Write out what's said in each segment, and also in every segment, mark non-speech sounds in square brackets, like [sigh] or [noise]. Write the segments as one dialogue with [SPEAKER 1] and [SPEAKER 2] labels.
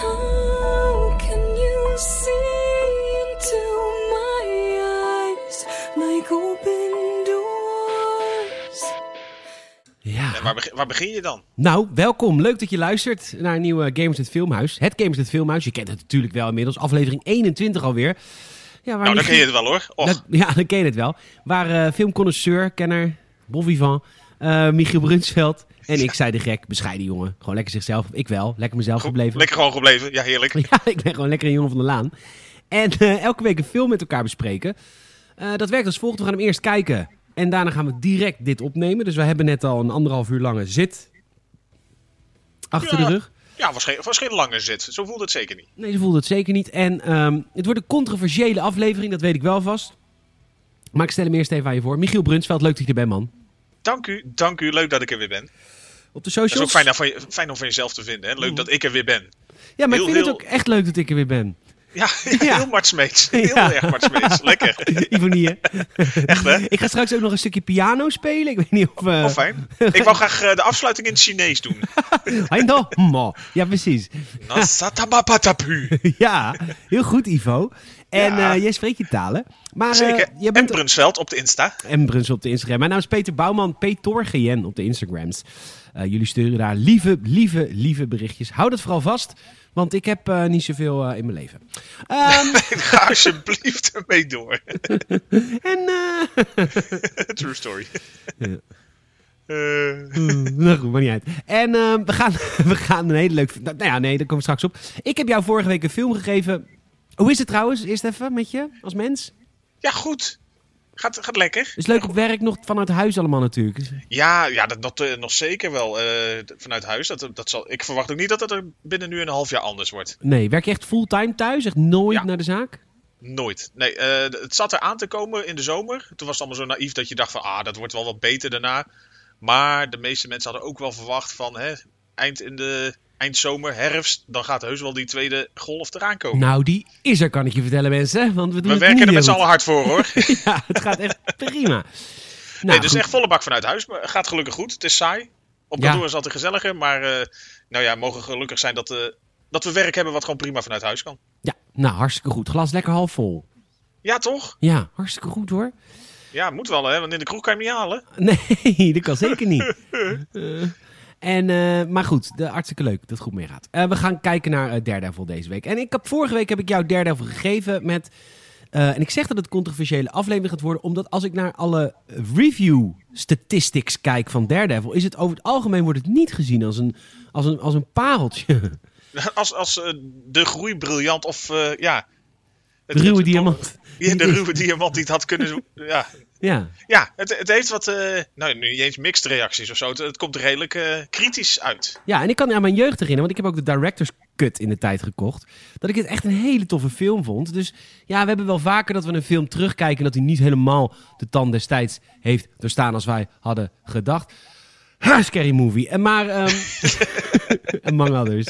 [SPEAKER 1] How can you see into my eyes like open doors?
[SPEAKER 2] Ja.
[SPEAKER 3] En Eh, waar, beg- waar begin je dan?
[SPEAKER 2] Nou, welkom. Leuk dat je luistert naar een nieuwe Gamers het Filmhuis. Het Gamers het Filmhuis. Je kent het natuurlijk wel inmiddels. Aflevering 21 alweer. Ja, waar
[SPEAKER 3] Nou, dan
[SPEAKER 2] Michiel-
[SPEAKER 3] ken je het wel hoor. Och,
[SPEAKER 2] Dat- ja, dan ken je het wel. Waar eh filmconnoisseur, kenner, bon vivant, eh, Michiel Brunsveld en ik, zei de gek, bescheiden jongen. Gewoon lekker zichzelf, ik wel, lekker mezelf
[SPEAKER 3] goed,
[SPEAKER 2] gebleven.
[SPEAKER 3] lekker gewoon gebleven. Ja, heerlijk.
[SPEAKER 2] [laughs] Ja, ik ben gewoon lekker een jongen van de laan. En eh, elke week een film met elkaar bespreken. Eh, dat werkt als volgt. We gaan hem eerst kijken en daarna gaan we direct dit opnemen. Dus we hebben net al een anderhalf uur lange zit achter
[SPEAKER 3] Ja.
[SPEAKER 2] de rug.
[SPEAKER 3] Ja, waarschijnlijk, waarschijnlijk langer zit. Zo voelt het zeker niet.
[SPEAKER 2] Nee, ze voelde het zeker niet. En ehm, het wordt een controversiële aflevering, dat weet ik wel vast. Maar ik stel hem eerst even aan je voor. Michiel Brunsveld, leuk dat je er bent, man.
[SPEAKER 3] Dank u, dank u. Leuk dat ik er weer ben.
[SPEAKER 2] Op de
[SPEAKER 3] Dat is ook
[SPEAKER 2] socials.
[SPEAKER 3] fijn, van je- fijn om van jezelf te vinden. Hè? Leuk
[SPEAKER 2] Mm.
[SPEAKER 3] dat ik er weer ben.
[SPEAKER 2] ja, maar ik
[SPEAKER 3] heel,
[SPEAKER 2] vind het
[SPEAKER 3] heel-
[SPEAKER 2] ook echt leuk dat ik er weer ben.
[SPEAKER 3] Ja, [laughs]
[SPEAKER 2] Ja.
[SPEAKER 3] heel Martsmeets. Heel
[SPEAKER 2] [laughs] Ja.
[SPEAKER 3] erg
[SPEAKER 2] [laughs]
[SPEAKER 3] Martsmeets. Lekker.
[SPEAKER 2] Ivonie,
[SPEAKER 3] [laughs]
[SPEAKER 2] hè?
[SPEAKER 3] Echt hè?
[SPEAKER 2] Ik ga straks ook nog een stukje piano spelen. Ik weet niet of... eh,
[SPEAKER 3] Oh, fijn. Ik wou graag eh, de afsluiting in het
[SPEAKER 2] [laughs]
[SPEAKER 3] Chinees doen.
[SPEAKER 2] Hij nog? Mo. Ja, precies.
[SPEAKER 3] Nasatamapatapu.
[SPEAKER 2] Eh, [laughs] Ja, heel goed, Ivo. En
[SPEAKER 3] Ja.
[SPEAKER 2] eh, jij spreekt je talen. Maar eh,
[SPEAKER 3] Zeker.
[SPEAKER 2] jij
[SPEAKER 3] en
[SPEAKER 2] bent
[SPEAKER 3] Brunsveld op de Insta. [laughs]
[SPEAKER 2] en Bruns op de Instagram. Mijn naam is Peter Bouwman, Petorgien op de Instagrams. Eh, jullie sturen daar lieve, lieve, lieve berichtjes. Hou dat vooral vast, want ik heb eh, niet zoveel eh, in mijn leven. Ehm,
[SPEAKER 3] [laughs] Ga alsjeblieft ermee door. [laughs]
[SPEAKER 2] en, eh, [laughs]
[SPEAKER 3] True story.
[SPEAKER 2] Ja.
[SPEAKER 3] Eh,
[SPEAKER 2] nou goed, maakt niet uit. En ehm, we, gaan, [laughs] we gaan een hele leuke... Nou ja, nee, daar komen we straks op. Ik heb jou vorige week een film gegeven. Hoe is het trouwens? Eerst even met je, als mens.
[SPEAKER 3] ja, goed. Gaat, gaat lekker.
[SPEAKER 2] Is leuk op werk nog vanuit huis allemaal natuurlijk.
[SPEAKER 3] Ja, ja dat, dat eh, nog zeker wel. eh, d- vanuit huis. Dat, dat zal, ik verwacht ook niet dat het er binnen nu een half jaar anders wordt.
[SPEAKER 2] Nee, werk je echt fulltime thuis? Echt nooit
[SPEAKER 3] Ja.
[SPEAKER 2] naar de zaak?
[SPEAKER 3] Nooit. Nee, eh, d- het zat er aan te komen in de zomer. Toen was het allemaal zo naïef dat je dacht van... Ah, dat wordt wel wat beter daarna. Maar de meeste mensen hadden ook wel verwacht van... Hè, eind in de... Eindzomer, herfst, dan gaat heus wel die tweede golf eraan komen.
[SPEAKER 2] Nou, die is er, kan ik je vertellen, mensen. Want we doen
[SPEAKER 3] We
[SPEAKER 2] het
[SPEAKER 3] werken
[SPEAKER 2] niet
[SPEAKER 3] er
[SPEAKER 2] heel
[SPEAKER 3] met z'n
[SPEAKER 2] goed.
[SPEAKER 3] allen hard voor hoor.
[SPEAKER 2] [laughs] Ja, het gaat echt prima. Nou,
[SPEAKER 3] nee, dus
[SPEAKER 2] goed.
[SPEAKER 3] echt volle bak vanuit huis. Maar het gaat gelukkig goed. Het is saai. Op
[SPEAKER 2] Ja.
[SPEAKER 3] kantoor is het altijd gezelliger. Maar eh, nou ja, we mogen gelukkig zijn dat, eh, dat we werk hebben wat gewoon prima vanuit huis kan.
[SPEAKER 2] Ja, nou, hartstikke goed. Glas lekker half vol.
[SPEAKER 3] Ja, toch?
[SPEAKER 2] Ja, hartstikke goed hoor.
[SPEAKER 3] Ja, moet wel hè. Want in de kroeg kan je hem niet halen.
[SPEAKER 2] [laughs]
[SPEAKER 3] [laughs]
[SPEAKER 2] Nee, dat kan zeker niet. Eh, en, eh, maar goed, de, hartstikke leuk dat het goed meegaat. Eh, we gaan kijken naar eh, Daredevil deze week. En ik heb, vorige week heb ik jou Daredevil gegeven met... eh, en ik zeg dat het een controversiële aflevering gaat worden... omdat als ik naar alle review statistics kijk van Daredevil... is het over het algemeen wordt het niet gezien als een, als een, als een pareltje.
[SPEAKER 3] Als, als eh, de groei briljant of eh, ja...
[SPEAKER 2] De ruwe diamant.
[SPEAKER 3] Ja, de ruwe diamant die het had kunnen... zo- [laughs] Ja,
[SPEAKER 2] Ja,
[SPEAKER 3] ja het, het heeft wat... eh, nou, nu niet eens mixed reacties of zo. Het, het komt redelijk eh, kritisch uit.
[SPEAKER 2] Ja, en ik kan aan mijn jeugd herinneren, want ik heb ook de Director's Cut in de tijd gekocht. Dat ik het echt een hele toffe film vond. Dus ja, we hebben wel vaker dat we een film terugkijken... en dat hij niet helemaal de tand destijds heeft doorstaan als wij hadden gedacht. Ha, scary movie. En maar,
[SPEAKER 3] [laughs]
[SPEAKER 2] ehm among others.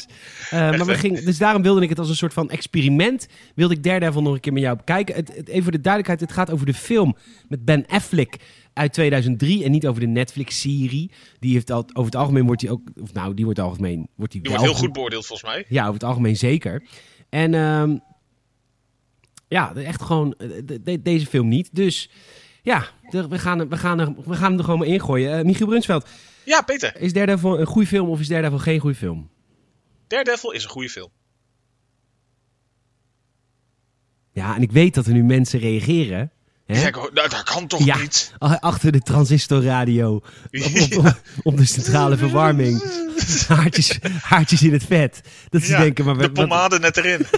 [SPEAKER 2] Eh, maar we gingen, dus daarom wilde ik het als een soort van experiment... wilde ik Daredevil nog een keer met jou bekijken. Het, het- even voor de duidelijkheid, het gaat over de film met Ben Affleck uit 2003... en niet over de Netflix-serie. Die heeft al, over het algemeen wordt die ook... Of nou, die wordt algemeen... Wordt die
[SPEAKER 3] Die
[SPEAKER 2] wel
[SPEAKER 3] wordt heel goed beoordeeld volgens mij.
[SPEAKER 2] ja, over het algemeen zeker. En ehm, ja, echt gewoon eh, de- de- deze film niet. Dus ja, de- we gaan, er- we, gaan er, we gaan hem er gewoon maar ingooien. Eh, Michiel Brunsveld,
[SPEAKER 3] Ja, Peter.
[SPEAKER 2] is Daredevil een goede film of is Daredevil geen goede film?
[SPEAKER 3] Daredevil is een goede film.
[SPEAKER 2] Ja, en ik weet dat er nu mensen reageren. Hè?
[SPEAKER 3] Ja, ik hoor- nou, dat kan toch
[SPEAKER 2] Ja, [laughs]
[SPEAKER 3] niet?
[SPEAKER 2] a- achter de transistorradio. Op,
[SPEAKER 3] [laughs]
[SPEAKER 2] op, op, op de centrale verwarming. Haartjes, haartjes in het vet. Dat ze
[SPEAKER 3] Ja,
[SPEAKER 2] denken, maar
[SPEAKER 3] de
[SPEAKER 2] wat- wat-
[SPEAKER 3] pomade net erin.
[SPEAKER 2] [laughs]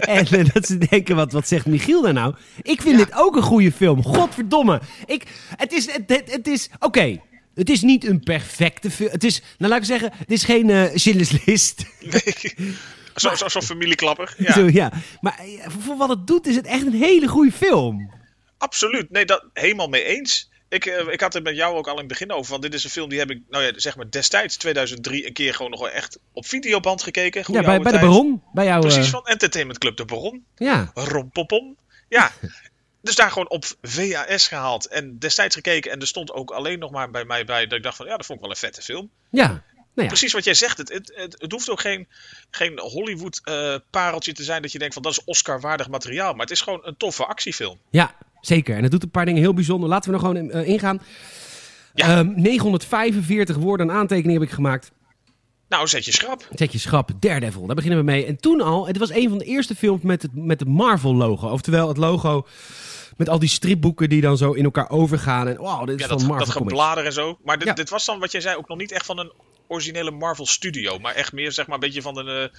[SPEAKER 2] En eh, dat ze denken, wat, wat zegt Michiel daar nou? Ik vind dit ook een goede film. Godverdomme. Ik, het is, het, het, het is, oké. Het is niet een perfecte film. Het is, nou laat ik zeggen, het is geen eh Schindler's List.
[SPEAKER 3] Nee. Zo- zo- Zo'n familieklapper. Ja,
[SPEAKER 2] Zo, ja. Maar eh, voor, voor wat het doet is het echt een hele goede film.
[SPEAKER 3] absoluut. Nee, dat helemaal mee eens. Ik, eh, ik had het met jou ook al in het begin over. Want dit is een film die heb ik, nou ja, zeg maar destijds, 2003, een keer gewoon nog wel echt op videoband gekeken. Goeie
[SPEAKER 2] Ja, bij,
[SPEAKER 3] oude
[SPEAKER 2] bij de
[SPEAKER 3] tijd.
[SPEAKER 2] Baron. Bij jou. eh,
[SPEAKER 3] Precies, van Entertainment Club de Baron.
[SPEAKER 2] Ja.
[SPEAKER 3] Rompopom.
[SPEAKER 2] [laughs]
[SPEAKER 3] Ja. Dus daar gewoon op VHS gehaald en destijds gekeken. En er stond ook alleen nog maar bij mij bij dat ik dacht van, ja, dat vond ik wel een vette film.
[SPEAKER 2] Ja. Nou ja,
[SPEAKER 3] Precies wat jij zegt. Het, het, het, het hoeft ook geen, geen Hollywood-pareltje te zijn dat je denkt van dat is Oscar-waardig materiaal. Maar het is gewoon een toffe actiefilm.
[SPEAKER 2] ja, zeker. En het doet een paar dingen heel bijzonder. Laten we er gewoon in- eh, ingaan.
[SPEAKER 3] Ja.
[SPEAKER 2] Ehm, 945 woorden en aantekeningen heb ik gemaakt.
[SPEAKER 3] Nou, zet je schrap.
[SPEAKER 2] Zet je schrap, Daredevil, daar beginnen we mee. En toen al, het was een van de eerste films met het, met het Marvel-logo. Oftewel het logo met al die stripboeken die dan zo in elkaar overgaan. En wow, dit is
[SPEAKER 3] Ja,
[SPEAKER 2] van
[SPEAKER 3] dat,
[SPEAKER 2] Marvel
[SPEAKER 3] dat
[SPEAKER 2] Comics.
[SPEAKER 3] geblader en zo. Maar dit,
[SPEAKER 2] Ja.
[SPEAKER 3] dit was dan, wat jij zei, ook nog niet echt van een originele Marvel-studio. Maar echt meer, zeg maar, een beetje van een, eh,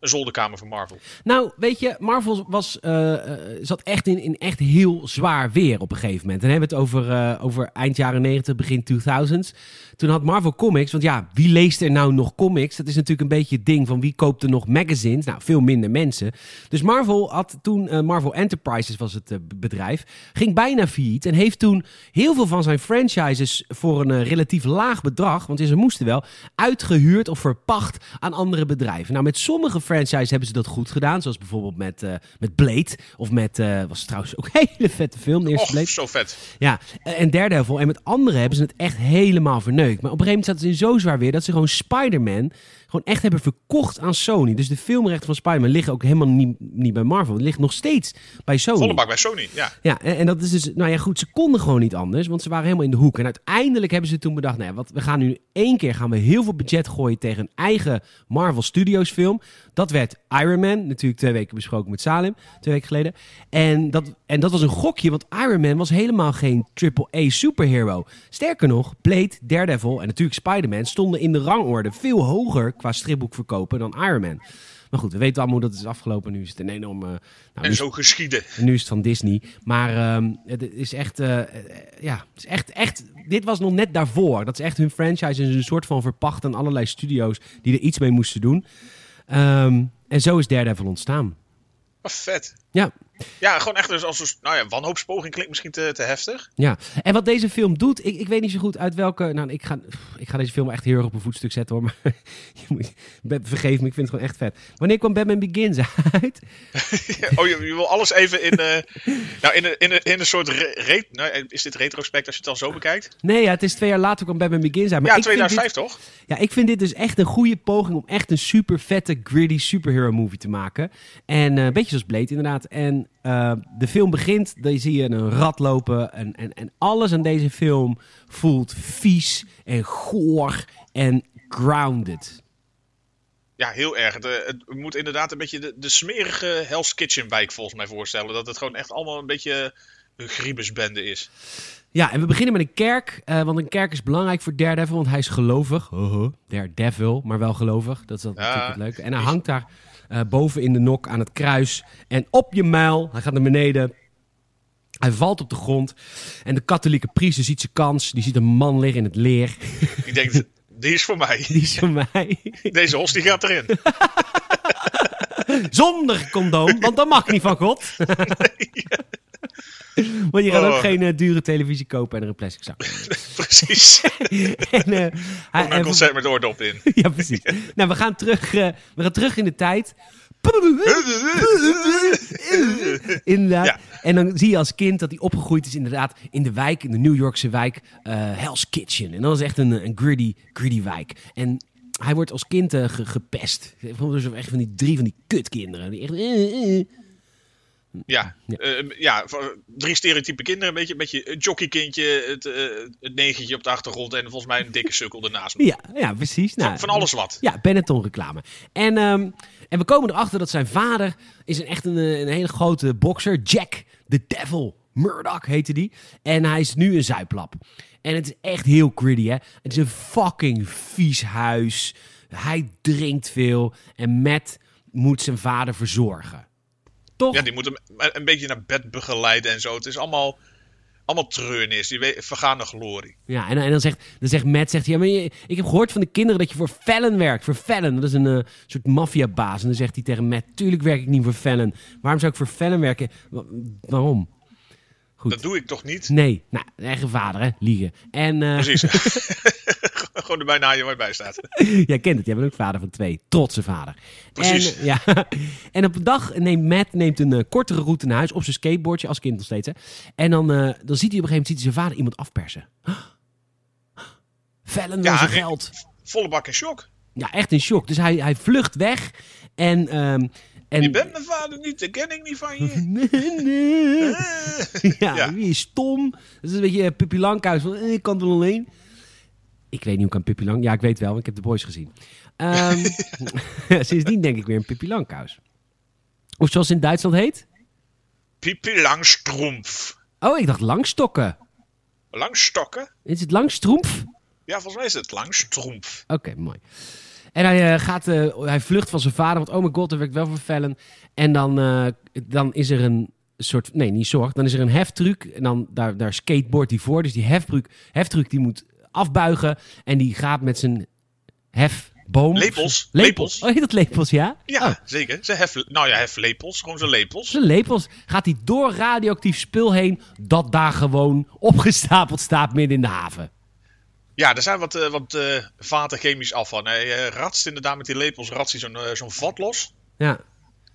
[SPEAKER 3] een zolderkamer van Marvel.
[SPEAKER 2] Nou, weet je, Marvel was, eh, eh, zat echt in, in echt heel zwaar weer op een gegeven moment. Dan hebben we het over, eh, over eind jaren 90, begin 2000s. Toen had Marvel Comics, want ja, wie leest er nou nog comics? Dat is natuurlijk een beetje het ding van wie koopt er nog magazines? Nou, veel minder mensen. Dus Marvel had toen, eh, Marvel Enterprises was het eh, b- bedrijf, ging bijna failliet en heeft toen heel veel van zijn franchises voor een eh, relatief laag bedrag, want ja, ze moesten wel, uitgehuurd of verpacht aan andere bedrijven. Nou, met sommige franchises hebben ze dat goed gedaan, zoals bijvoorbeeld met, eh, met Blade of met, eh, was trouwens ook een [laughs] hele vette film, de eerste
[SPEAKER 3] Och,
[SPEAKER 2] Blade.
[SPEAKER 3] zo vet.
[SPEAKER 2] Ja, en Daredevil en met anderen hebben ze het echt helemaal verneukt. Maar op een gegeven moment zaten ze in zo zwaar weer dat ze gewoon Spider-Man gewoon echt hebben verkocht aan Sony. Dus de filmrechten van Spider-Man liggen ook helemaal niet, niet bij Marvel. Het ligt nog steeds bij Sony.
[SPEAKER 3] Volle bak bij Sony, ja.
[SPEAKER 2] Ja, en, en dat is dus, nou ja, goed, ze konden gewoon niet anders, want ze waren helemaal in de hoek. En uiteindelijk hebben ze toen bedacht, nou ja, wat, we gaan nu één keer gaan we heel veel budget gooien tegen een eigen Marvel Studios film. Dat werd Iron Man, natuurlijk twee weken besproken met Salim, twee weken geleden. En dat, en dat was een gokje, want Iron Man was helemaal geen triple-A superhero. Sterker nog, Blade, Daredevil en natuurlijk Spider-Man stonden in de rangorde veel hoger qua stripboek verkopen dan Iron Man. Maar goed, we weten allemaal hoe dat is afgelopen. Nu is het een enorme... Nou, nu
[SPEAKER 3] En zo geschieden.
[SPEAKER 2] en nu is het van Disney. Maar ehm, het is echt. eh, eh, ja, het is echt, echt. Dit was nog net daarvoor. Dat is echt hun franchise. En ze een soort van verpacht aan allerlei studio's die er iets mee moesten doen. Ehm, en zo is Daredevil ontstaan.
[SPEAKER 3] Maar vet.
[SPEAKER 2] Ja,
[SPEAKER 3] Ja, gewoon echt dus als een nou ja, wanhoopspoging klinkt misschien te, te heftig.
[SPEAKER 2] ja. En wat deze film doet, ik, ik weet niet zo goed uit welke. Nou, ik ga, pff, ik ga deze film echt heel erg op een voetstuk zetten hoor. [laughs] Maar je moet, be- vergeef me, ik vind het gewoon echt vet. Wanneer kwam Batman Begins [laughs] uit?
[SPEAKER 3] Oh, je, je wil alles even in,
[SPEAKER 2] [laughs]
[SPEAKER 3] eh, nou, in, een- in, een- in een soort... Re, re- nou, is dit retrospect als je het dan zo bekijkt?
[SPEAKER 2] Nee, ja, het is twee jaar later kwam Batman Begins uit. Maar
[SPEAKER 3] Ja,
[SPEAKER 2] ik vind dit-
[SPEAKER 3] 2005 toch?
[SPEAKER 2] Ja, ik vind dit dus echt een goede poging om echt een super vette, gritty superhero movie te maken. En eh, een beetje zoals Blade inderdaad. En eh, de film begint, daar zie je een rat lopen. En, en, en alles aan deze film voelt vies en goor en grounded.
[SPEAKER 3] Ja, heel erg. De, het moet inderdaad een beetje de, de smerige Hell's Kitchen wijk volgens mij voorstellen. Dat het gewoon echt allemaal een beetje een griebesbende is.
[SPEAKER 2] Ja, en we beginnen met een kerk. eh, want een kerk is belangrijk voor Daredevil, want hij is gelovig. Hoho, Daredevil, maar wel gelovig. Dat is dat
[SPEAKER 3] Ja.
[SPEAKER 2] natuurlijk het leuke. En hij hangt daar eh, boven in de nok aan het kruis. En op je mijl, hij gaat naar beneden. Hij valt op de grond. En de katholieke priester ziet zijn kans. Die ziet een man liggen in het leer.
[SPEAKER 3] Ik denk, [laughs] die is voor mij.
[SPEAKER 2] [laughs] Die is van mij.
[SPEAKER 3] Deze host die gaat erin.
[SPEAKER 2] [laughs] Zonder condoom, want dat mag niet van God.
[SPEAKER 3] [laughs]
[SPEAKER 2] Want je gaat ook
[SPEAKER 3] Oh.
[SPEAKER 2] geen eh, dure televisie kopen en er een plastic zak. [laughs]
[SPEAKER 3] Precies.
[SPEAKER 2] en, eh, hij,
[SPEAKER 3] Ook een
[SPEAKER 2] en-
[SPEAKER 3] concert met oordop in.
[SPEAKER 2] [laughs] ja, precies. Nou, we gaan terug, eh, we gaan terug in de tijd. Inderdaad.
[SPEAKER 3] Ja.
[SPEAKER 2] En dan zie je als kind dat hij opgegroeid is inderdaad in de wijk, in de New Yorkse wijk, eh, Hell's Kitchen. En dat is echt een, een gritty, gritty wijk. En hij wordt als kind eh, ge- gepest. Dus echt van die drie van die kutkinderen. Die echt, eh, eh.
[SPEAKER 3] Ja, eh, ja voor drie stereotype kinderen. Een beetje, een beetje het jockeykindje, het, eh, het negentje op de achtergrond en volgens mij een dikke sukkel ernaast.
[SPEAKER 2] Ja, ja, precies. Nou,
[SPEAKER 3] Van, van alles wat.
[SPEAKER 2] Ja, Benetton reclame. En, ehm, en we komen erachter dat zijn vader is een, echt een, eh, een hele grote bokser. Jack the Devil Murdoch heette die. En hij is nu een zuiplap. En het is echt heel gritty, hè. Het is een fucking vies huis. Hij drinkt veel. En Matt moet zijn vader verzorgen. Toch?
[SPEAKER 3] Ja, die moet hem een beetje naar bed begeleiden en zo. Het is allemaal, allemaal treurnis, die we- vergane glorie.
[SPEAKER 2] Ja, en, en dan, zegt, dan zegt Matt, zegt hij, ja, maar je- ik heb gehoord van de kinderen dat je voor Fallon werkt. Voor Fallon, dat is een eh, soort maffiabaas. En dan zegt hij tegen Matt, tuurlijk werk ik niet voor Fallon. Waarom zou ik voor Fallon werken? Wa- waarom?
[SPEAKER 3] Dat doe ik toch niet?
[SPEAKER 2] Nee, nou, eigen vader, hè, liegen. En eh,
[SPEAKER 3] Precies. [laughs] Gewoon erbij na je waar je bij staat.
[SPEAKER 2] [laughs] jij kent het, jij bent ook vader van twee. Trotse vader.
[SPEAKER 3] Precies.
[SPEAKER 2] En, eh, ja, [laughs] en op een dag neemt Matt neemt een eh, kortere route naar huis op zijn skateboardje, als kind nog steeds. Hè. En dan, eh, dan ziet hij op een gegeven moment ziet hij zijn vader iemand afpersen. [gasps] Fallon wil
[SPEAKER 3] Ja,
[SPEAKER 2] zijn
[SPEAKER 3] ik-
[SPEAKER 2] geld.
[SPEAKER 3] volle bak in shock.
[SPEAKER 2] Ja, echt in shock. Dus hij, hij vlucht weg. En, ehm en...
[SPEAKER 3] Je bent mijn vader niet, dat ken ik niet van je.
[SPEAKER 2] [laughs] Nee, nee.
[SPEAKER 3] Eh.
[SPEAKER 2] [laughs] ja,
[SPEAKER 3] Ja.
[SPEAKER 2] wie is Tom? Dat is een beetje eh, Pippi Lankhuis. Van, eh, ik kan het wel alleen. Ik weet niet hoe ik aan Pippi Lang... Ja, ik weet wel, want ik heb de boys gezien. Ehm, [laughs] sindsdien denk ik weer een Pippi Lankhuis. Of zoals het in Duitsland heet.
[SPEAKER 3] Pipi Langstrumpf.
[SPEAKER 2] Oh, ik dacht langstokken.
[SPEAKER 3] Langstokken?
[SPEAKER 2] Is het langstroemf?
[SPEAKER 3] Ja, volgens mij is het Langstrumpf.
[SPEAKER 2] Oké, mooi. En hij, eh, gaat, eh, hij vlucht van zijn vader, want oh mijn god, dat werkt wel voor Fallon. En dan, eh, dan is er een soort, nee, niet zorg, dan is er een heftruc. En dan daar, daar skateboardt hij voor. Dus die heftruc, heftruc die moet afbuigen. En die gaat met zijn hefboom.
[SPEAKER 3] Lepels,
[SPEAKER 2] Lepels.
[SPEAKER 3] lepels.
[SPEAKER 2] Oh, heet dat lepels, ja?
[SPEAKER 3] Ja,
[SPEAKER 2] Oh,
[SPEAKER 3] zeker. Ze hef, nou ja, heflepels. Gewoon zijn lepels.
[SPEAKER 2] zijn lepels gaat hij door radioactief spul heen, dat daar gewoon opgestapeld staat midden in de haven.
[SPEAKER 3] Ja, er zijn wat, eh, wat eh, vaten chemisch afval. Hij eh, ratst inderdaad met die lepels ratst hij zo'n eh, zo'n vat los.
[SPEAKER 2] Ja.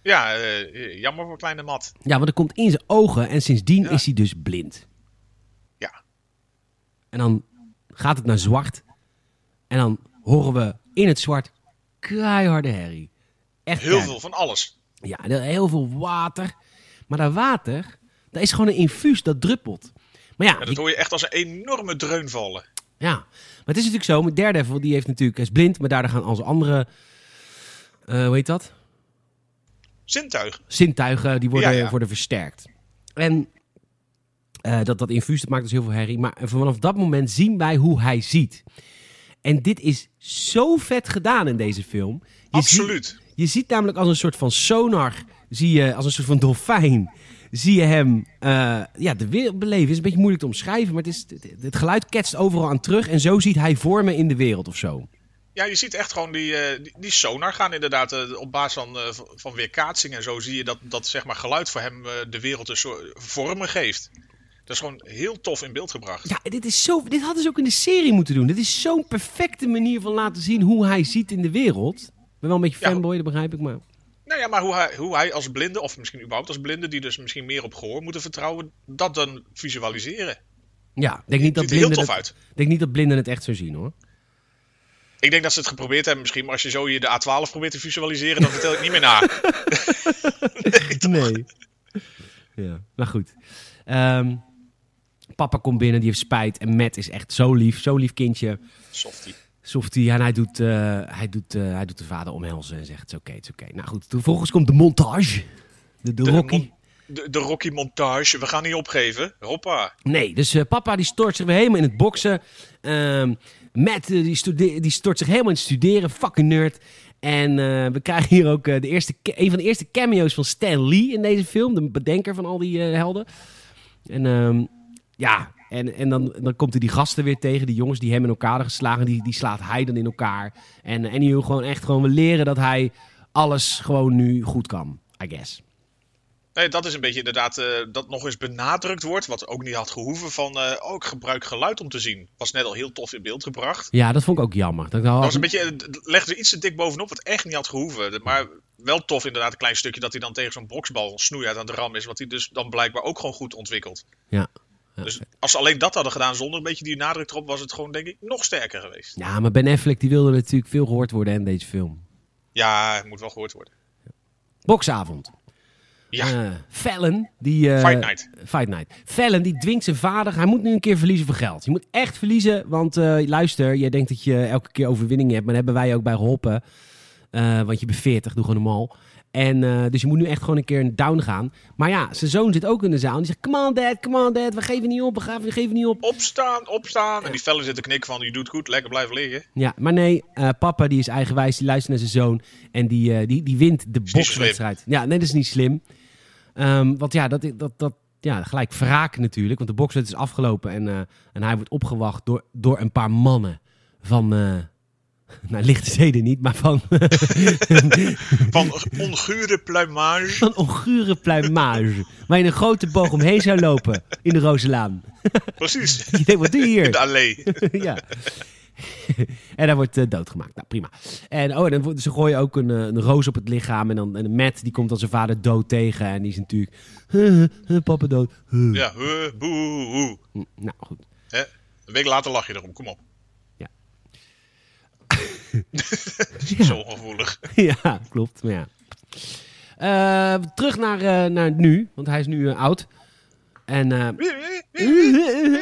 [SPEAKER 3] Ja, eh, jammer voor kleine mat.
[SPEAKER 2] ja, want er komt in zijn ogen en sindsdien
[SPEAKER 3] Ja.
[SPEAKER 2] is hij dus blind.
[SPEAKER 3] Ja.
[SPEAKER 2] En dan gaat het naar zwart. En dan horen we in het zwart keiharde herrie. Echt
[SPEAKER 3] Heel
[SPEAKER 2] keihard.
[SPEAKER 3] veel van alles.
[SPEAKER 2] Ja, en heel veel water. Maar dat water, dat is gewoon een infuus dat druppelt. Maar ja,
[SPEAKER 3] Ja,
[SPEAKER 2] je-
[SPEAKER 3] dat hoor je echt als een enorme dreun vallen.
[SPEAKER 2] ja. maar het is natuurlijk zo. Met Daredevil, die heeft natuurlijk, hij is blind. Maar daardoor gaan onze andere, eh, hoe heet dat?
[SPEAKER 3] Zintuigen.
[SPEAKER 2] zintuigen die worden,
[SPEAKER 3] Ja, ja.
[SPEAKER 2] worden versterkt. En eh, dat, dat infuus, dat maakt dus heel veel herrie. Maar vanaf dat moment zien wij hoe hij ziet. En dit is zo vet gedaan in deze film. Je
[SPEAKER 3] Absoluut.
[SPEAKER 2] ziet- je ziet namelijk als een soort van sonar, zie je, als een soort van dolfijn, zie je hem eh, ja, de wereld beleven. is een beetje moeilijk te omschrijven, maar het, is, het, het geluid ketst overal aan terug. En zo ziet hij vormen in de wereld of zo.
[SPEAKER 3] Ja, je ziet echt gewoon die, eh, die, die sonar gaan inderdaad. eh, op basis van, eh, v- van weerkaatsing en zo zie je dat, dat zeg maar, geluid voor hem eh, de wereld een soort vormen geeft. Dat is gewoon heel tof in beeld gebracht.
[SPEAKER 2] Ja, dit, is zo, dit hadden ze ook in de serie moeten doen. Dit is zo'n perfecte manier van laten zien hoe hij ziet in de wereld. Ik ben wel een beetje
[SPEAKER 3] Ja.
[SPEAKER 2] fanboy, dat begrijp ik maar.
[SPEAKER 3] Nou ja, maar hoe hij, hoe hij als blinde, of misschien überhaupt als blinde, die dus misschien meer op gehoor moeten vertrouwen, dat dan visualiseren.
[SPEAKER 2] Ja, ik denk niet dat
[SPEAKER 3] ziet er heel
[SPEAKER 2] blinden het,
[SPEAKER 3] tof uit.
[SPEAKER 2] ik denk niet dat blinden het echt zo zien hoor.
[SPEAKER 3] Ik denk dat ze het geprobeerd hebben misschien, maar als je zo je de A12 probeert te visualiseren, dan vertel ik niet meer na.
[SPEAKER 2] Nee. Ja, maar goed. Ehm, papa komt binnen, die heeft spijt. En Matt is echt zo lief, zo lief kindje.
[SPEAKER 3] Softie.
[SPEAKER 2] Softie, en hij doet, eh, hij, doet, eh, hij doet de vader omhelzen en zegt: Het is oké, het is oké. Nou goed, vervolgens komt de montage. De, de,
[SPEAKER 3] De
[SPEAKER 2] Rocky.
[SPEAKER 3] mon- De, de Rocky montage, we gaan niet opgeven. Hoppa.
[SPEAKER 2] Nee, dus eh, papa die stort zich weer helemaal in het boksen. Ehm Matt eh, die, stude- die stort zich helemaal in het studeren. Fucking nerd. En eh, we krijgen hier ook eh, de eerste, ca- een van de eerste cameo's van Stan Lee in deze film. De bedenker van al die eh, helden. En ehm, ja, en, en dan, dan komt hij die gasten weer tegen. Die jongens die hem in elkaar hadden geslagen. Die, die slaat hij dan in elkaar. En, en die wil gewoon echt gewoon we leren dat hij alles gewoon nu goed kan. I guess.
[SPEAKER 3] Nee, dat is een beetje inderdaad eh, dat nog eens benadrukt wordt, wat ook niet had gehoeven van eh oh, ik gebruik geluid om te zien. Was net al heel tof in beeld gebracht.
[SPEAKER 2] Ja, dat vond ik ook jammer. Dat, ik dacht, oh,
[SPEAKER 3] Dat was een beetje, het legde iets te dik bovenop, wat echt niet had gehoeven. Maar wel tof inderdaad, een klein stukje dat hij dan tegen zo'n boksbal snoeihard aan de ram is, wat hij dus dan blijkbaar ook gewoon goed ontwikkelt.
[SPEAKER 2] Ja.
[SPEAKER 3] Dus als ze alleen dat hadden gedaan zonder een beetje die nadruk erop, was het gewoon denk ik nog sterker geweest.
[SPEAKER 2] Ja, maar Ben Affleck die wilde natuurlijk veel gehoord worden hè, in deze film.
[SPEAKER 3] Ja, het moet wel gehoord worden.
[SPEAKER 2] Boksavond.
[SPEAKER 3] Ja,
[SPEAKER 2] Eh, Fallon, die... eh,
[SPEAKER 3] Fight night.
[SPEAKER 2] Fight night. Fallon, die dwingt zijn vader. Hij moet nu een keer verliezen voor geld. Je moet echt verliezen, want eh, luister, jij denkt dat je elke keer overwinning hebt. Maar daar hebben wij je ook bij geholpen. Eh, want je bent 40, doe gewoon normaal. En, eh, dus je moet nu echt gewoon een keer een down gaan. Maar ja, zijn zoon zit ook in de zaal. En die zegt, come on dad, come on dad, we geven niet op, we, gaan, we geven niet op.
[SPEAKER 3] opstaan, opstaan. En die fellen zitten knikken van, je doet goed, lekker blijven liggen.
[SPEAKER 2] Ja, maar nee, eh, papa die is eigenwijs, die luistert naar zijn zoon en die, eh, die, die wint de
[SPEAKER 3] zo
[SPEAKER 2] bokswedstrijd. Ja, nee, dat is niet slim. Ehm, want ja, dat, dat, dat, ja, gelijk wraak natuurlijk, want de bokswedstrijd is afgelopen en, eh, en hij wordt opgewacht door, door een paar mannen van, eh [laughs] nou lichte zeden niet, maar van, [laughs]
[SPEAKER 3] Van ongure pluimage.
[SPEAKER 2] van ongure pluimage. Waar je een grote boog omheen zou lopen in de Rozenlaan.
[SPEAKER 3] Precies,
[SPEAKER 2] Je denkt, [laughs] wat doe je hier?
[SPEAKER 3] in de allee.
[SPEAKER 2] [laughs] ja. en hij wordt eh, doodgemaakt. Nou, prima. En, oh, en dan wo- ze gooien ook een, eh, een roos op het lichaam. En dan en Matt, die komt dan zijn vader dood tegen. En die is natuurlijk... [laughs] "Huh, huh, huh, papa dood. [laughs] huh."
[SPEAKER 3] Ja, huh, boe, hoe.
[SPEAKER 2] Nou, goed. [laughs]
[SPEAKER 3] Hè? Een week later lach je erom, kom op.
[SPEAKER 2] Ja.
[SPEAKER 3] [laughs] Zo ongevoelig.
[SPEAKER 2] ja, klopt. Maar ja. Eh, terug naar, eh, naar nu, want hij is nu eh, oud. En, eh,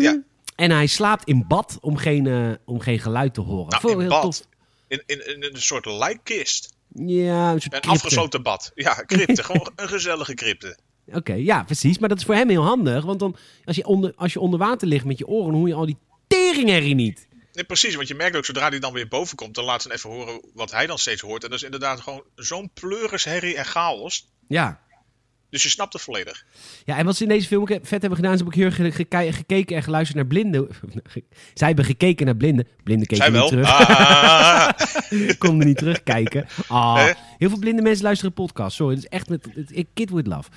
[SPEAKER 3] Ja,
[SPEAKER 2] en hij slaapt in bad om geen, eh, om geen geluid te horen.
[SPEAKER 3] nou,
[SPEAKER 2] Vond ik
[SPEAKER 3] in
[SPEAKER 2] heel
[SPEAKER 3] bad.
[SPEAKER 2] tof.
[SPEAKER 3] In, in, in een soort lijkkist.
[SPEAKER 2] Ja, een soort
[SPEAKER 3] Een
[SPEAKER 2] crypte.
[SPEAKER 3] afgesloten bad. Ja, crypte. Gewoon een gezellige crypte.
[SPEAKER 2] Oké, ja, precies. Maar dat is voor hem heel handig. Want dan, als, je onder, als je onder water ligt met je oren, dan hoor je al die teringherrie niet.
[SPEAKER 3] Nee, precies, want je merkt ook zodra hij dan weer boven komt, dan laat ze even horen wat hij dan steeds hoort. En dat is inderdaad gewoon zo'n pleurisherrie en chaos.
[SPEAKER 2] Ja.
[SPEAKER 3] Dus je snapt het volledig.
[SPEAKER 2] Ja, en wat ze in deze film ook he- vet hebben gedaan, is heb ik heel erg ge- geke- gekeken en geluisterd naar [laughs] blinden. Zij hebben gekeken naar blinden. Blinden keken niet
[SPEAKER 3] Zij wel.
[SPEAKER 2] terug. [laughs]
[SPEAKER 3] Ah,
[SPEAKER 2] konden niet terugkijken. Ah,
[SPEAKER 3] [laughs] Hè?
[SPEAKER 2] heel veel blinde mensen luisteren podcasts. Sorry, het is echt met het- het- Kid with Love.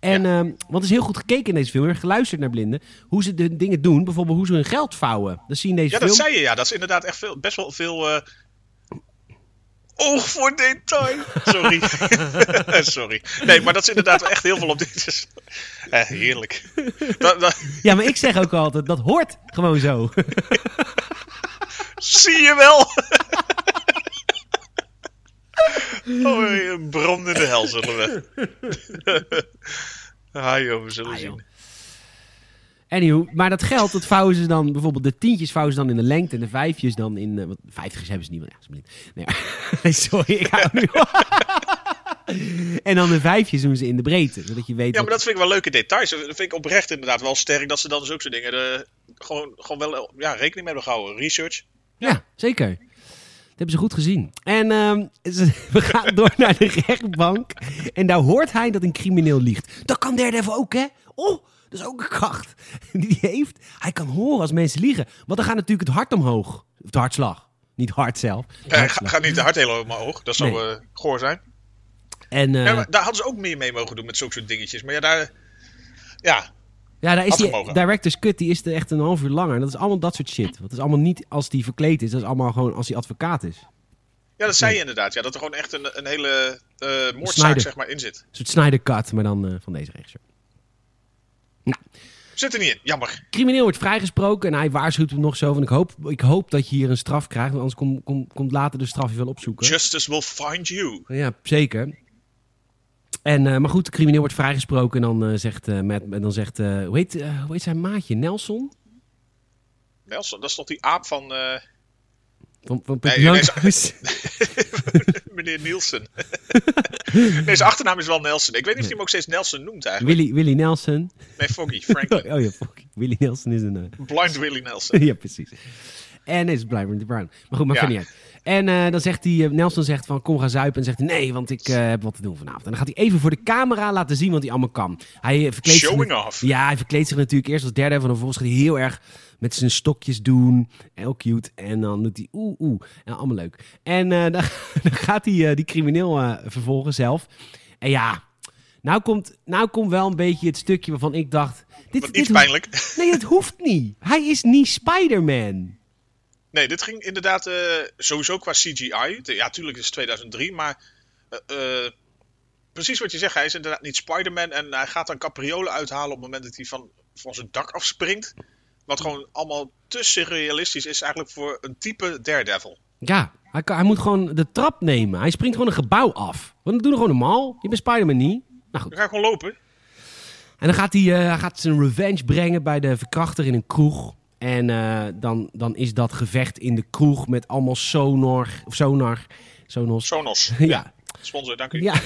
[SPEAKER 2] En ehm, want het is heel goed gekeken in deze film. Heel erg geluisterd naar blinden. Hoe ze de dingen doen. Bijvoorbeeld hoe ze hun geld vouwen. Dat zie je in deze
[SPEAKER 3] ja,
[SPEAKER 2] film.
[SPEAKER 3] dat zei je. Ja, dat is inderdaad echt veel, best wel veel eh, oog voor detail.
[SPEAKER 2] [laughs]
[SPEAKER 3] Sorry. [laughs] Sorry. Nee, maar dat is inderdaad wel echt heel veel op dit. [laughs] is- Eh,
[SPEAKER 2] [laughs]
[SPEAKER 3] heerlijk. Dat, dat,
[SPEAKER 2] Ja, maar ik zeg ook altijd, dat hoort gewoon zo.
[SPEAKER 3] zie je wel. [laughs] Oh, eh, een brandende hel zullen we. [laughs] ah joh, we zullen
[SPEAKER 2] Ah, joh.
[SPEAKER 3] zien.
[SPEAKER 2] Anywho, maar dat geld, dat vouwen ze dan bijvoorbeeld de tientjes vouwen ze dan in de lengte en de vijfjes dan in. eh, wat, vijftigers hebben ze niet, want ja, ze zijn blind. Nee, [laughs] maar- sorry, ik hou nu.
[SPEAKER 3] [laughs]
[SPEAKER 2] en dan de vijfjes doen ze in de breedte, zodat je weet.
[SPEAKER 3] Ja,
[SPEAKER 2] wat-
[SPEAKER 3] maar dat vind ik wel leuke details. Dat vind ik oprecht inderdaad wel sterk dat ze dan dus ook zo'n dingen eh, gewoon, gewoon wel ja, rekening mee hebben gehouden. Research.
[SPEAKER 2] Ja, zeker. Dat hebben ze goed gezien. En ehm, ze- [laughs] we gaan door naar de rechtbank. En daar hoort hij dat een crimineel liegt. Dat kan Daredevil ook, hè? Oh, dat is ook een kracht [laughs] die hij heeft. Hij kan horen als mensen liegen. Want dan gaat natuurlijk het hart omhoog. Of de hartslag. Niet hart zelf. De
[SPEAKER 3] Eh, ga,
[SPEAKER 2] hartslag.
[SPEAKER 3] ga niet te hard helemaal oog. Dat zou
[SPEAKER 2] Nee.
[SPEAKER 3] eh, goor zijn.
[SPEAKER 2] En eh,
[SPEAKER 3] Ja, maar daar hadden ze ook meer mee mogen doen met zulke soort dingetjes. Maar ja, daar... Ja,
[SPEAKER 2] ja, daar is
[SPEAKER 3] had
[SPEAKER 2] die
[SPEAKER 3] gemogen.
[SPEAKER 2] director's cut, die is er echt een half uur langer. Dat is allemaal dat soort shit. Dat is allemaal niet als die verkleed is. Dat is allemaal gewoon als hij advocaat is.
[SPEAKER 3] ja dat zei je inderdaad. Ja, dat er gewoon echt een, een hele eh moordzaak
[SPEAKER 2] Snyder.
[SPEAKER 3] zeg maar, in zit.
[SPEAKER 2] Een soort Snyder cut, maar dan eh, van deze regisseur.
[SPEAKER 3] Zit er niet in. Jammer.
[SPEAKER 2] crimineel wordt vrijgesproken en hij waarschuwt hem nog zo van ik hoop, ik hoop dat je hier een straf krijgt, want anders kom- kom- komt later de straf je wel opzoeken.
[SPEAKER 3] Justice will find you.
[SPEAKER 2] Ja, zeker. En, eh, maar goed, de crimineel wordt vrijgesproken en dan eh, zegt, eh Matt- en dan zegt eh, hoe, heet, eh, hoe heet zijn maatje? Nelson?
[SPEAKER 3] Nelson, dat is toch die aap van eh, [laughs]
[SPEAKER 2] Van, van
[SPEAKER 3] Nee,
[SPEAKER 2] Puck Young?
[SPEAKER 3] nee, meneer Nielsen. nee, zijn achternaam is wel Nelson. Ik weet niet of hij hem ook steeds Nelson noemt eigenlijk.
[SPEAKER 2] [laughs] Willy, Willy
[SPEAKER 3] [laughs]
[SPEAKER 2] Nelson.
[SPEAKER 3] Nee, Foggy, Franklin.
[SPEAKER 2] Oh [laughs] ja, fuck. Willy Nelson is een... eh,
[SPEAKER 3] Blind Willie Nelson.
[SPEAKER 2] [laughs] ja, precies. En nee, het is blijkbaar de Brown. Maar goed, maar
[SPEAKER 3] Ja.
[SPEAKER 2] niet uit. En eh, dan zegt hij, eh, Nelson zegt van kom gaan zuipen. En zegt hij nee, want ik eh, heb wat te doen vanavond. En dan gaat hij even voor de camera laten zien wat hij allemaal kan. Hij eh, verkleedt zich
[SPEAKER 3] Showing
[SPEAKER 2] met-
[SPEAKER 3] off.
[SPEAKER 2] Ja, hij verkleedt zich natuurlijk eerst als derde. En vervolgens gaat hij heel erg met zijn stokjes doen. Heel cute. En dan doet hij oeh oeh. En allemaal leuk. En eh, [laughs] dan, dan gaat hij eh, die crimineel eh, vervolgen zelf. En ja, nou komt, nou komt wel een beetje het stukje waarvan ik dacht... Dit,
[SPEAKER 3] Wat
[SPEAKER 2] dit
[SPEAKER 3] iets
[SPEAKER 2] hoeft-
[SPEAKER 3] pijnlijk.
[SPEAKER 2] Nee, dat hoeft niet. Hij is niet Spider-Man.
[SPEAKER 3] Nee, dit ging inderdaad eh, sowieso qua CGI. De- ja, tuurlijk is het 2003, maar eh, eh, precies wat je zegt. Hij is inderdaad niet Spider-Man en hij gaat dan capriolen uithalen op het moment dat hij van, van zijn dak afspringt. Wat gewoon allemaal te surrealistisch is eigenlijk voor een type Daredevil.
[SPEAKER 2] Ja, hij, kan- hij moet gewoon de trap nemen. Hij springt gewoon een gebouw af. Want dat doen we gewoon normaal. Je bent Spider-Man niet. Nou goed.
[SPEAKER 3] Dan ga ik gewoon lopen.
[SPEAKER 2] En dan gaat hij, eh, hij gaat zijn revenge brengen bij de verkrachter in een kroeg. En eh, dan, dan is dat gevecht in de kroeg met allemaal sonar. Of sonar. Sonos.
[SPEAKER 3] Sonos.
[SPEAKER 2] [laughs] Ja,
[SPEAKER 3] Sponsor, dank u.
[SPEAKER 2] ja. [laughs]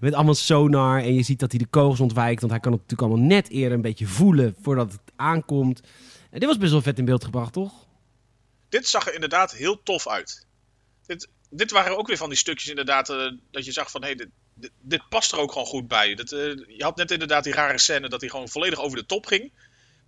[SPEAKER 2] met allemaal sonar. En je ziet dat hij de kogels ontwijkt. Want hij kan het natuurlijk allemaal net eerder een beetje voelen voordat het aankomt. En dit was best wel vet in beeld gebracht, toch?
[SPEAKER 3] Dit zag er inderdaad heel tof uit. Dit, dit waren ook weer van die stukjes inderdaad eh, dat je zag van... Hey, dit, dit, dit past er ook gewoon goed bij. Dat, eh, je had net inderdaad die rare scène dat hij gewoon volledig over de top ging.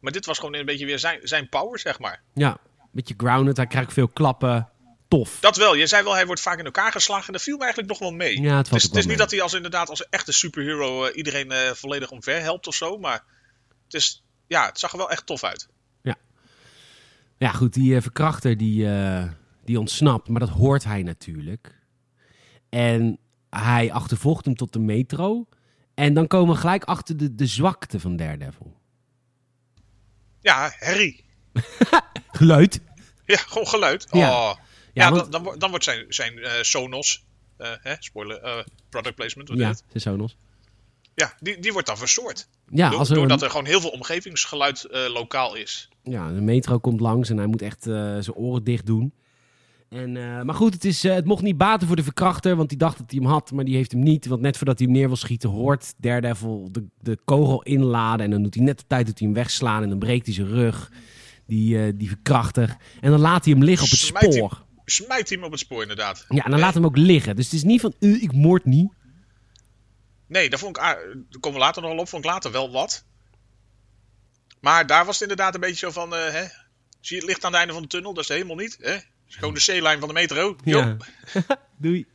[SPEAKER 3] Maar dit was gewoon een beetje weer zijn, zijn power, zeg maar.
[SPEAKER 2] Ja, beetje grounded. Hij krijgt veel klappen. Tof.
[SPEAKER 3] Dat wel. Je zei wel, hij wordt vaak in elkaar geslagen. En dat viel me eigenlijk nog wel mee.
[SPEAKER 2] Ja, het valt
[SPEAKER 3] is,
[SPEAKER 2] ook wel
[SPEAKER 3] het is niet
[SPEAKER 2] mee.
[SPEAKER 3] dat hij als inderdaad als echte superhero eh, iedereen eh, volledig omver helpt of zo. Maar het, is, ja, het zag er wel echt tof uit.
[SPEAKER 2] Ja, goed, die eh, verkrachter die, eh, die ontsnapt, maar dat hoort hij natuurlijk. En hij achtervolgt hem tot de metro. En dan komen we gelijk achter de, de zwakte van Daredevil.
[SPEAKER 3] Ja, Harry.
[SPEAKER 2] Geluid.
[SPEAKER 3] [laughs] Ja, gewoon geluid.
[SPEAKER 2] Ja.
[SPEAKER 3] Oh, Ja,
[SPEAKER 2] want-
[SPEAKER 3] dan, dan, wordt- dan wordt zijn, zijn eh, Sonos, eh, hè, spoiler, eh, product placement, wat
[SPEAKER 2] ja,
[SPEAKER 3] heet het?
[SPEAKER 2] de Sonos.
[SPEAKER 3] ja die, die wordt dan verstoord.
[SPEAKER 2] Ja,
[SPEAKER 3] Do-
[SPEAKER 2] als er,
[SPEAKER 3] doordat er gewoon heel veel omgevingsgeluid eh, lokaal is.
[SPEAKER 2] ja, de metro komt langs en hij moet echt eh, zijn oren dicht doen. En, eh, maar goed, het, is, eh, het mocht niet baten voor de verkrachter, want die dacht dat hij hem had, maar die heeft hem niet. Want net voordat hij hem neer wil schieten, hoort Daredevil de, de kogel inladen. En dan doet hij net de tijd dat hij hem wegslaan en dan breekt hij zijn rug, die, eh, die verkrachter. En dan laat hij hem liggen op het
[SPEAKER 3] Smijt hij-
[SPEAKER 2] spoor.
[SPEAKER 3] Smijt hem op het spoor, inderdaad.
[SPEAKER 2] Ja, en dan laat hem ook liggen. Dus het is niet van, u, ik moord niet.
[SPEAKER 3] Nee, daar vond ik, a- daar komen we later nog wel op, vond ik later wel wat. Maar daar was het inderdaad een beetje zo van, eh, hè, zie je het licht aan het einde van de tunnel? Dat is het helemaal niet, hè? Het is gewoon de C-lijn van de metro. Jo.
[SPEAKER 2] Ja. [laughs] Doei.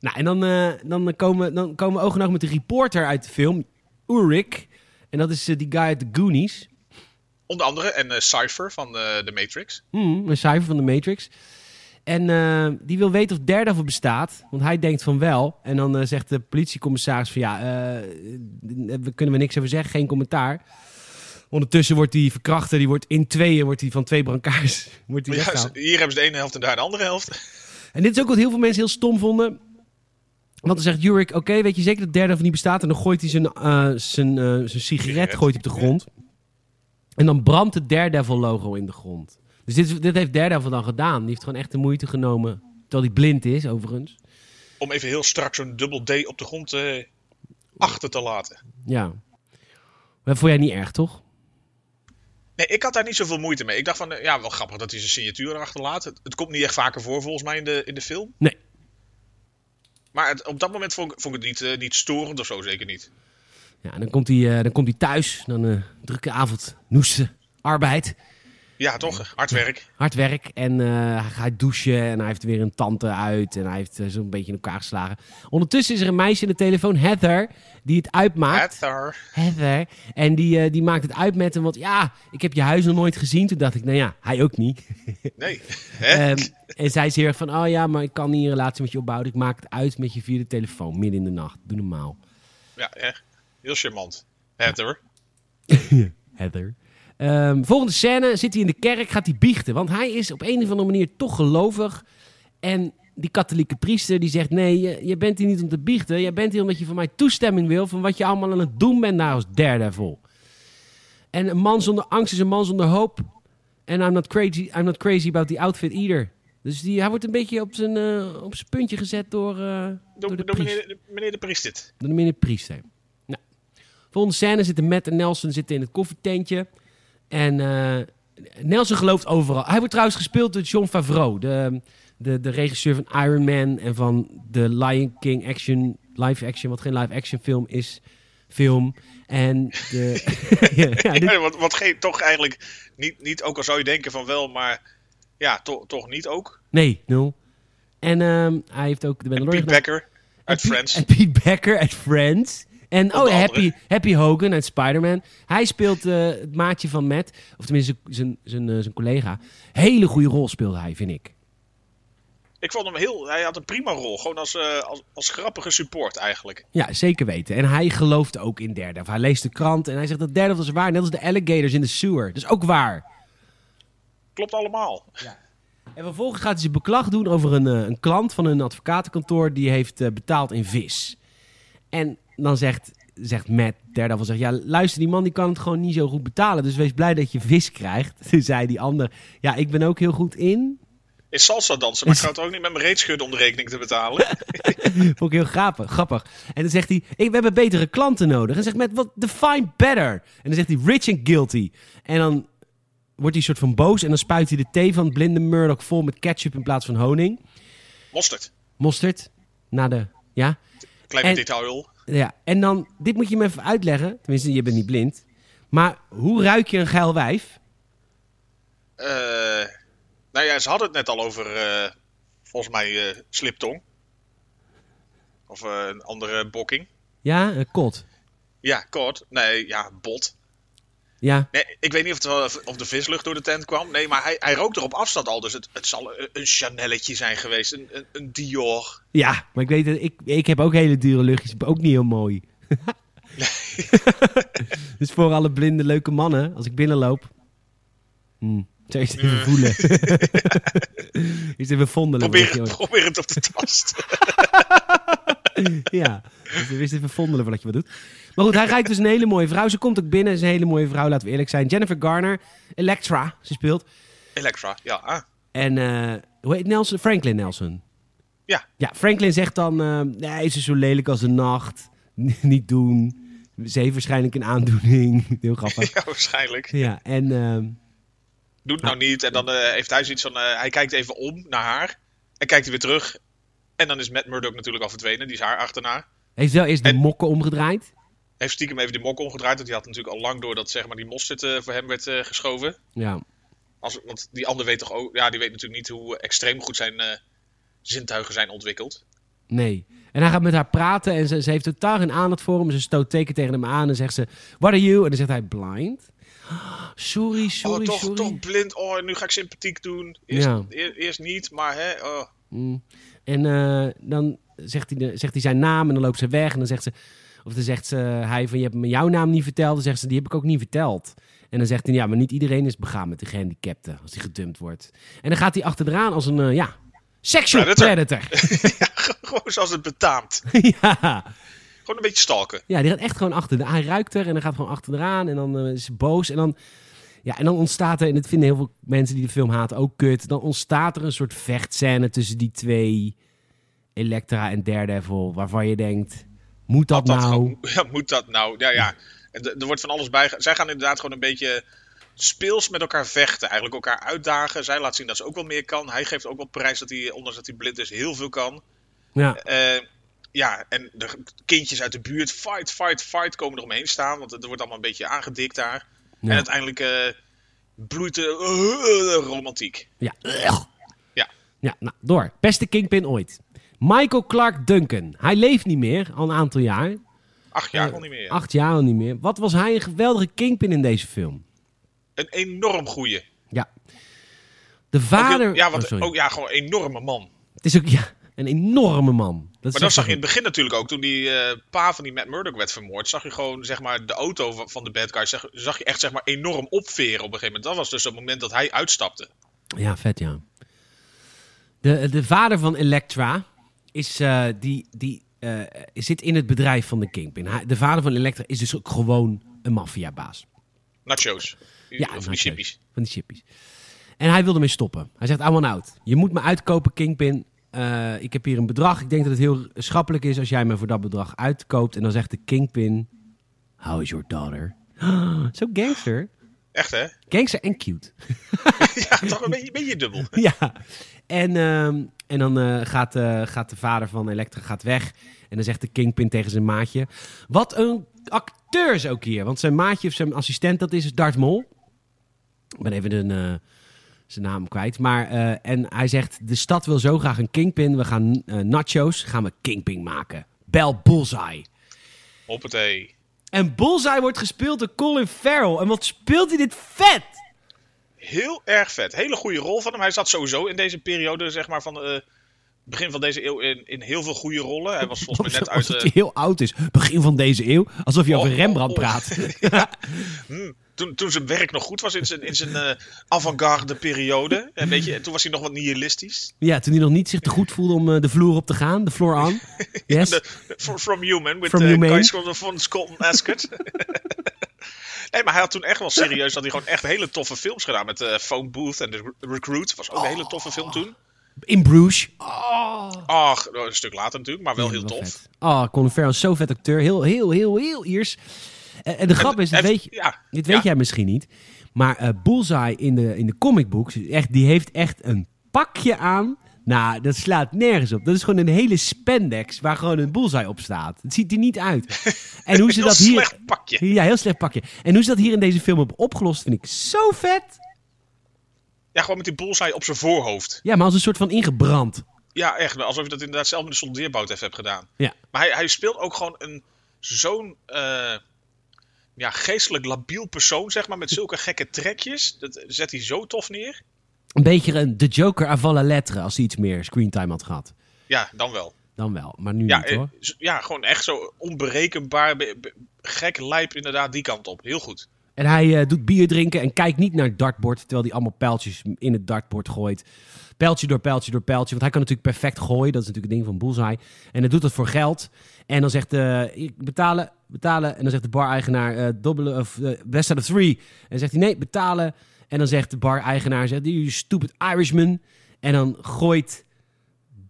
[SPEAKER 2] Nou, en dan, eh, dan, komen, dan komen we oog in oog met de reporter uit de film, Ulrich. En dat is eh, die guy uit de Goonies.
[SPEAKER 3] Onder andere, en eh, Cypher van eh, de Matrix.
[SPEAKER 2] Hmm, een cijfer van de Matrix. En eh, die wil weten of Daredevil bestaat. Want hij denkt van wel. En dan eh, zegt de politiecommissaris van ja, eh, we kunnen we niks over zeggen. Geen commentaar. Ondertussen wordt die verkrachter, die wordt in tweeën, wordt die van twee brancards. [laughs] Wordt die
[SPEAKER 3] Ja,
[SPEAKER 2] weggehaald.
[SPEAKER 3] ze- hier hebben ze de ene helft en daar de andere helft.
[SPEAKER 2] En dit is ook wat heel veel mensen heel stom vonden. Want dan zegt Jurik, oké, weet je zeker dat Daredevil niet bestaat? En dan gooit hij zijn, eh, zijn, eh, zijn sigaret
[SPEAKER 3] Sigaret.
[SPEAKER 2] gooit hij op de grond. En dan brandt het Daredevil-logo in de grond. Dus dit, is- dit heeft Daredevil dan gedaan. Die heeft gewoon echt de moeite genomen. Terwijl hij blind is, overigens.
[SPEAKER 3] Om even heel strak zo'n dubbel D op de grond eh, achter te laten.
[SPEAKER 2] Ja. Dat vond jij niet erg, toch?
[SPEAKER 3] Nee, ik had daar niet zoveel moeite mee. Ik dacht van, eh, ja, wel grappig dat hij zijn signatuur erachter laat. Het, het komt niet echt vaker voor, volgens mij, in de, in de film.
[SPEAKER 2] Nee.
[SPEAKER 3] Maar het- op dat moment vond ik, vond ik het niet, eh, niet storend of zo, zeker niet.
[SPEAKER 2] Ja, en dan komt hij, eh, dan komt hij thuis. Dan eh, drukke avond, noeste arbeid.
[SPEAKER 3] Ja, toch? Hard
[SPEAKER 2] [laughs]
[SPEAKER 3] werk.
[SPEAKER 2] hard werk. En eh, hij gaat douchen en hij heeft weer een tante uit. En hij heeft eh, zo'n beetje in elkaar geslagen. Ondertussen is er een meisje in de telefoon, Heather, die het uitmaakt.
[SPEAKER 3] Heather.
[SPEAKER 2] Heather. En die, eh, die maakt het uit met hem. Want ja, ik heb je huis nog nooit gezien. Toen dacht ik, nou ja, hij ook niet.
[SPEAKER 3] Nee.
[SPEAKER 2] [laughs]
[SPEAKER 3] Hè?
[SPEAKER 2] Ehm, en zij is heel erg van, oh ja, maar ik kan niet een relatie met je opbouwen. Ik maak het uit met je via de telefoon, midden in de nacht. Doe normaal.
[SPEAKER 3] ja, hè? Heel charmant. Heather.
[SPEAKER 2] Heather. Ehm, volgende scène zit hij in de kerk, gaat hij biechten. Want hij is op een of andere manier toch gelovig. En die katholieke priester die zegt: Nee, je, je bent hier niet om te biechten. Jij bent hier omdat je van mij toestemming wil. van wat je allemaal aan het doen bent daar als daredevil. En een man zonder angst is een man zonder hoop. En I'm not crazy, I'm not crazy about the outfit either. Dus die, hij wordt een beetje op zijn, eh, op zijn puntje gezet door, eh, door,
[SPEAKER 3] Doe,
[SPEAKER 2] de
[SPEAKER 3] doe
[SPEAKER 2] priester.
[SPEAKER 3] meneer, de- meneer de Priest dit.
[SPEAKER 2] Dan ben je een priester. Nou. Volgende scène zitten Matt en Nelson zitten in het koffietentje. En eh, Nelson gelooft overal. Hij wordt trouwens gespeeld door John Favreau. De, de, de regisseur van Iron Man en van de Lion King action, live action. Wat geen live action film is. Film. En de... [laughs] ja, dit-
[SPEAKER 3] Ja, [laughs] wat, wat geen, toch eigenlijk niet, niet, ook al zou je denken van wel, maar ja, to- toch niet ook.
[SPEAKER 2] nee, nul. En ehm, hij heeft ook de Mandalorian
[SPEAKER 3] Pete
[SPEAKER 2] gedaan.
[SPEAKER 3] Becker uit
[SPEAKER 2] En Piet-
[SPEAKER 3] Friends.
[SPEAKER 2] En Pete Becker uit Friends. En oh,
[SPEAKER 3] Onder
[SPEAKER 2] Happy,
[SPEAKER 3] andere.
[SPEAKER 2] Happy Hogan uit Spider-Man. Hij speelt eh, het maatje van Matt. Of tenminste zijn, zijn, eh, zijn collega. Hele goede rol speelde hij, vind ik.
[SPEAKER 3] Ik vond hem heel... Hij had een prima rol. Gewoon als, eh, als, als grappige support eigenlijk.
[SPEAKER 2] Ja, zeker weten. En hij gelooft ook in Daredevil. Hij leest de krant en hij zegt dat Daredevil is waar. Net als de alligators in de sewer. Dat is ook waar.
[SPEAKER 3] Klopt allemaal.
[SPEAKER 2] En vervolgens gaat hij zijn beklag doen over een, eh, een klant van een advocatenkantoor. Die heeft eh, betaald in vis. En dan zegt, zegt Matt Daredevil, zegt, ja, luister, die man die kan het gewoon niet zo goed betalen. Dus wees blij dat je vis krijgt. [laughs] Toen zei die ander, ja, ik ben ook heel goed in. [laughs]
[SPEAKER 3] Is salsa dansen, maar ik ga het ook niet met mijn reet schudden om de rekening te betalen.
[SPEAKER 2] Vond ik heel grappig. grappig. En dan zegt hij, ik, we hebben betere klanten nodig. En zegt Matt, wat, define better. En dan zegt hij, rich and guilty. En dan wordt hij soort van boos en dan spuit hij de thee van blinde Murdoch vol met ketchup in plaats van honing.
[SPEAKER 3] Mosterd.
[SPEAKER 2] Mosterd, na de, ja.
[SPEAKER 3] Klein
[SPEAKER 2] En-
[SPEAKER 3] detail.
[SPEAKER 2] Ja, en dan, dit moet je me even uitleggen. Tenminste, je bent niet blind. Maar hoe ruik je een geil wijf?
[SPEAKER 3] Eh, nou ja, ze hadden het net al over, eh, volgens mij, eh, sliptong. Of eh, een andere bokking.
[SPEAKER 2] Ja, een kot.
[SPEAKER 3] Ja, kort. Nee, ja, bot.
[SPEAKER 2] Ja,
[SPEAKER 3] Nee, ik weet niet of, het wel- of de vislucht door de tent kwam. Nee, maar hij, hij rookte er op afstand al. Dus het, het zal een, een Chanelletje zijn geweest. Een, een, een Dior.
[SPEAKER 2] ja maar ik weet het. Ik, ik heb ook hele dure luchtjes. Ook niet heel mooi. [laughs] dus voor alle blinde leuke mannen, als ik binnenloop. Hm, Eerst even voelen.
[SPEAKER 3] [laughs]
[SPEAKER 2] Eerst even vondelen.
[SPEAKER 3] Probeer,
[SPEAKER 2] zeg je
[SPEAKER 3] het,
[SPEAKER 2] ook.
[SPEAKER 3] probeer het op te tasten.
[SPEAKER 2] ja, dus we wisten even vondelen voordat je wat doet. Maar goed, hij rijdt dus een hele mooie vrouw. Ze komt ook binnen, is een hele mooie vrouw, laten we eerlijk zijn. Jennifer Garner, Electra, ze speelt.
[SPEAKER 3] Elektra, ja. ah.
[SPEAKER 2] En eh, hoe heet Nelson? Franklin Nelson.
[SPEAKER 3] Ja. [laughs]
[SPEAKER 2] Ja, Franklin zegt dan, eh, nee, ze is zo lelijk als de nacht. [laughs] Niet doen. Ze heeft waarschijnlijk een aandoening. [laughs] Heel
[SPEAKER 3] [laughs]
[SPEAKER 2] grappig.
[SPEAKER 3] ja, waarschijnlijk.
[SPEAKER 2] Ja, en ehm,
[SPEAKER 3] Doe het nou niet. En dan eh, heeft hij zoiets van... eh, hij kijkt even om naar haar. En kijkt hij weer terug. En dan is Matt Murdock natuurlijk al verdwenen. Die is haar achterna.
[SPEAKER 2] heeft wel eerst de
[SPEAKER 3] En-
[SPEAKER 2] mokken omgedraaid.
[SPEAKER 3] Heeft stiekem even die mok omgedraaid. Want die had natuurlijk al lang door dat zeg maar, die mosterd eh, voor hem werd eh, geschoven.
[SPEAKER 2] Ja.
[SPEAKER 3] Als, want die ander weet toch ook... Ja, die weet natuurlijk niet hoe extreem goed zijn eh, zintuigen zijn ontwikkeld.
[SPEAKER 2] Nee. En hij gaat met haar praten en ze, ze heeft totaal geen aandacht voor hem. Ze stoot teken tegen hem aan en zegt ze, what are you? En dan zegt hij, blind. [gasps] Sorry, sorry,
[SPEAKER 3] oh, toch,
[SPEAKER 2] sorry.
[SPEAKER 3] toch blind. Oh, nu ga ik sympathiek doen. Eerst,
[SPEAKER 2] Ja.
[SPEAKER 3] eer- eerst niet, maar hè... oh. [laughs]
[SPEAKER 2] Mm. En eh, dan zegt hij, de- zegt hij zijn naam en dan loopt ze weg. En dan zegt ze, of dan zegt ze, hij van, je hebt me jouw naam niet verteld. Dan zegt ze, die heb ik ook niet verteld. En dan zegt hij, ja, maar niet iedereen is begaan met de gehandicapten als hij gedumpt wordt. En dan gaat hij achteraan als een, eh, ja, sexual
[SPEAKER 3] Predator.
[SPEAKER 2] predator. [laughs]
[SPEAKER 3] Gewoon zoals het betaamt.
[SPEAKER 2] ja.
[SPEAKER 3] Gewoon een beetje stalken.
[SPEAKER 2] Ja, die gaat echt gewoon achter. de- Hij ruikt er en dan gaat gewoon achteraan. En dan eh, is ze boos. En dan, ja, en dan ontstaat er, en dat vinden heel veel mensen die de film haten ook kut. Dan ontstaat er een soort vechtscène tussen die twee, Elektra en Daredevil. Waarvan je denkt, moet dat,
[SPEAKER 3] Had dat
[SPEAKER 2] nou?
[SPEAKER 3] gewoon- [laughs] ja, moet dat nou? Ja, ja. En d- er wordt van alles bij. ge- Zij gaan inderdaad gewoon een beetje speels met elkaar vechten. Eigenlijk elkaar uitdagen. Zij laat zien dat ze ook wel meer kan. Hij geeft ook wel prijs dat hij, ondanks dat hij blind is, heel veel kan.
[SPEAKER 2] Ja,
[SPEAKER 3] Eh, ja, en de g- kindjes uit de buurt, fight, fight, fight, komen er omheen staan. Want het wordt allemaal een beetje aangedikt daar.
[SPEAKER 2] Ja.
[SPEAKER 3] En uiteindelijk eh, bloeit de eh, eh, romantiek.
[SPEAKER 2] ja. Ugh.
[SPEAKER 3] Ja.
[SPEAKER 2] Ja, nou, door. Beste Kingpin ooit. Michael Clark Duncan. Hij leeft niet meer, al een aantal jaar.
[SPEAKER 3] Acht jaar
[SPEAKER 2] Eh,
[SPEAKER 3] al niet meer. ja.
[SPEAKER 2] Acht jaar al niet meer. Wat was hij een geweldige Kingpin in deze film.
[SPEAKER 3] Een enorm goeie.
[SPEAKER 2] Ja. De vader...
[SPEAKER 3] ja,
[SPEAKER 2] Oh,
[SPEAKER 3] want,
[SPEAKER 2] sorry.
[SPEAKER 3] oh, ja, gewoon een enorme man.
[SPEAKER 2] Het is ook ja, een enorme man.
[SPEAKER 3] Maar dat zag je in het begin natuurlijk ook. Toen die eh, pa van die Matt Murdock werd vermoord, zag je gewoon zeg maar, de auto va- van de bad guy zeg, zag je echt zeg maar, enorm opveren op een gegeven moment. Dat was dus het moment dat hij uitstapte.
[SPEAKER 2] Ja, vet ja. De, de vader van Elektra is, eh, die, die, eh, zit in het bedrijf van de Kingpin. Hij- de vader van Elektra is dus ook gewoon een maffiabaas.
[SPEAKER 3] Nachos. Die-
[SPEAKER 2] Ja,
[SPEAKER 3] of
[SPEAKER 2] nou,
[SPEAKER 3] die chippies.
[SPEAKER 2] Van die chippies. En hij wilde mee stoppen. Hij zegt, I want out. Je moet me uitkopen, Kingpin. Eh, ik heb hier een bedrag. Ik denk dat het heel schappelijk is als jij me voor dat bedrag uitkoopt. En dan zegt de Kingpin, how is your daughter? [gasps] Zo gangster.
[SPEAKER 3] Echt hè? [laughs]
[SPEAKER 2] Gangster en cute.
[SPEAKER 3] Ja, toch een beetje, een beetje dubbel.
[SPEAKER 2] ja. En, ehm, en dan eh, gaat, eh, gaat de vader van Elektra gaat weg. En dan zegt de Kingpin tegen zijn maatje. Wat een acteur is ook hier. Want zijn maatje of zijn assistent, dat is Darth Mol. Ik ben even een, eh, zijn naam kwijt. Maar, eh, en hij zegt, de stad wil zo graag een Kingpin. We gaan eh, nachos, gaan we Kingpin maken. Bel Bullseye.
[SPEAKER 3] Hoppatee.
[SPEAKER 2] En Bullseye wordt gespeeld door Colin Farrell. En wat speelt hij dit vet!
[SPEAKER 3] Heel erg vet. Hele goede rol van hem. Hij zat sowieso in deze periode zeg maar, van eh, begin van deze eeuw in, in heel veel goede rollen. Hij was
[SPEAKER 2] [laughs]
[SPEAKER 3] volgens mij net uit...
[SPEAKER 2] Alsof
[SPEAKER 3] eh,
[SPEAKER 2] hij heel oud is. Begin van deze eeuw. Alsof je over
[SPEAKER 3] Oh,
[SPEAKER 2] Rembrandt
[SPEAKER 3] oh, oh.
[SPEAKER 2] praat. [laughs]
[SPEAKER 3] Hmm, Toen, toen zijn werk nog goed was in zijn, in zijn eh, avant-garde periode. Een beetje, toen was hij nog wat nihilistisch.
[SPEAKER 2] Ja, toen hij nog niet zich te goed voelde om eh, de vloer op te gaan, de floor
[SPEAKER 3] [laughs]
[SPEAKER 2] aan. Yes.
[SPEAKER 3] De- from, from Human, with
[SPEAKER 2] From
[SPEAKER 3] eh,
[SPEAKER 2] Human.
[SPEAKER 3] Guy Scott- van Scott Ascott. [laughs] nee, maar hij had toen echt wel serieus dat hij gewoon echt hele toffe films gedaan. Met eh, Phone Booth en The Recruit. Was ook een hele toffe film toen.
[SPEAKER 2] In Bruges.
[SPEAKER 3] Ach, een stuk later natuurlijk, maar wel heel tof.
[SPEAKER 2] vet. Oh, Colin Farrell is zo vet acteur. Heel, heel, heel, heel Iers. En, en de grap is, dit
[SPEAKER 3] Even-
[SPEAKER 2] weet, je,
[SPEAKER 3] ja,
[SPEAKER 2] dit
[SPEAKER 3] ja.
[SPEAKER 2] weet jij misschien niet. Maar eh Bullseye in de, in de comicbooks, echt, die heeft echt een pakje aan. Nou, dat slaat nergens op. Dat is gewoon een hele spandex waar gewoon een Bullseye op staat. Het ziet er niet
[SPEAKER 3] [laughs]
[SPEAKER 2] uit. En hoe ze
[SPEAKER 3] Heel
[SPEAKER 2] dat hier...
[SPEAKER 3] slecht pakje.
[SPEAKER 2] Ja, heel slecht pakje. En hoe ze dat hier in deze film hebben opgelost, vind ik zo vet.
[SPEAKER 3] Ja, gewoon met die bullseye op zijn voorhoofd.
[SPEAKER 2] Ja, maar als een soort van ingebrand.
[SPEAKER 3] Ja, echt. Alsof je dat inderdaad zelf met de soldeerbout even hebt gedaan.
[SPEAKER 2] Ja.
[SPEAKER 3] Maar hij, hij speelt ook gewoon een zo'n eh, ja, geestelijk labiel persoon, zeg maar, met zulke gekke trekjes. Dat zet hij zo tof neer.
[SPEAKER 2] Een beetje een de Joker à la lettre als hij iets meer screentime had gehad.
[SPEAKER 3] Ja, dan wel.
[SPEAKER 2] Dan wel, maar nu
[SPEAKER 3] Ja,
[SPEAKER 2] niet
[SPEAKER 3] eh,
[SPEAKER 2] hoor.
[SPEAKER 3] z- ja, gewoon echt zo onberekenbaar, be- be- gek lijp inderdaad die kant op. Heel goed.
[SPEAKER 2] En hij eh, doet bier drinken en kijkt niet naar het dartbord, terwijl hij allemaal pijltjes in het dartbord gooit. Pijltje door pijltje door pijltje, want hij kan natuurlijk perfect gooien. Dat is natuurlijk het ding van Bullseye. En hij doet dat voor geld. En dan zegt eh, ik betalen, betalen. En dan zegt de bar-eigenaar, eh, dubbele, of, eh, best out of three. En dan zegt hij, nee, betalen. En dan zegt de bar-eigenaar, zegt, you stupid Irishman. En dan gooit,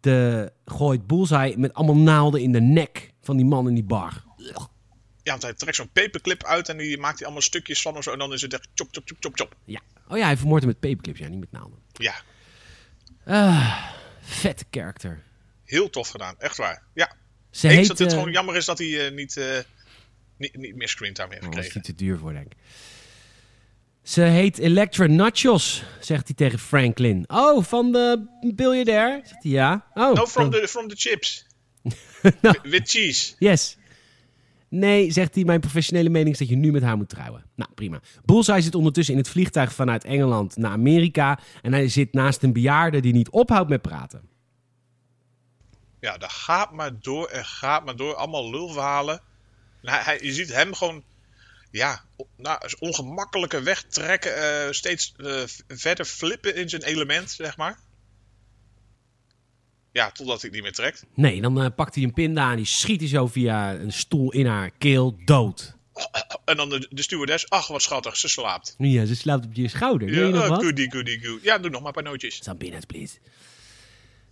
[SPEAKER 2] de, gooit Bullseye met allemaal naalden in de nek van die man in die bar.
[SPEAKER 3] Ja, want hij trekt zo'n paperclip uit en die maakt hij allemaal stukjes van of zo. En dan is het echt chop, chop, chop, chop, chop.
[SPEAKER 2] Ja. Oh ja, hij vermoordt hem met paperclips, ja, niet met naalden.
[SPEAKER 3] Ja,
[SPEAKER 2] Ah, vette character.
[SPEAKER 3] heel tof gedaan. Echt waar. Ja,
[SPEAKER 2] Ze
[SPEAKER 3] Eens
[SPEAKER 2] heet,
[SPEAKER 3] dat het
[SPEAKER 2] eh,
[SPEAKER 3] gewoon jammer is dat hij eh, niet, eh, niet, niet meer screentime heeft
[SPEAKER 2] oh, dat is
[SPEAKER 3] gekregen.
[SPEAKER 2] niet te duur voor, denk ik. Ze heet Electra Nachos, zegt hij tegen Franklin. Oh, van de biljardair? Zegt hij ja. Oh,
[SPEAKER 3] No,
[SPEAKER 2] van-
[SPEAKER 3] Nou, from the, from the
[SPEAKER 2] [laughs]
[SPEAKER 3] chips.
[SPEAKER 2] Nou.
[SPEAKER 3] With cheese.
[SPEAKER 2] Yes. Nee, zegt hij, mijn professionele mening is dat je nu met haar moet trouwen. Nou, prima. Bullseye zit ondertussen in het vliegtuig vanuit Engeland naar Amerika. En hij zit naast een bejaarde die niet ophoudt met praten.
[SPEAKER 3] Ja, dat gaat maar door en gaat maar door. Allemaal lulverhalen. En hij, hij- je ziet hem gewoon ja, o- nou, als ongemakkelijke weg trekken. eh, steeds eh, v- verder flippen in zijn element, zeg maar. Ja, totdat hij het niet meer trekt. [coughs]
[SPEAKER 2] Nee, dan eh, pakt hij een pinda en die schiet hij zo via een stoel in haar keel dood.
[SPEAKER 3] En dan de, de stewardess. Ach, wat schattig, ze slaapt.
[SPEAKER 2] Ja, ze slaapt op je schouder. Wil
[SPEAKER 3] Ja,
[SPEAKER 2] je nog
[SPEAKER 3] eh,
[SPEAKER 2] wat?
[SPEAKER 3] goodie, goodie, goodie. Ja, doe nog maar een paar nootjes.
[SPEAKER 2] Some peanuts, please.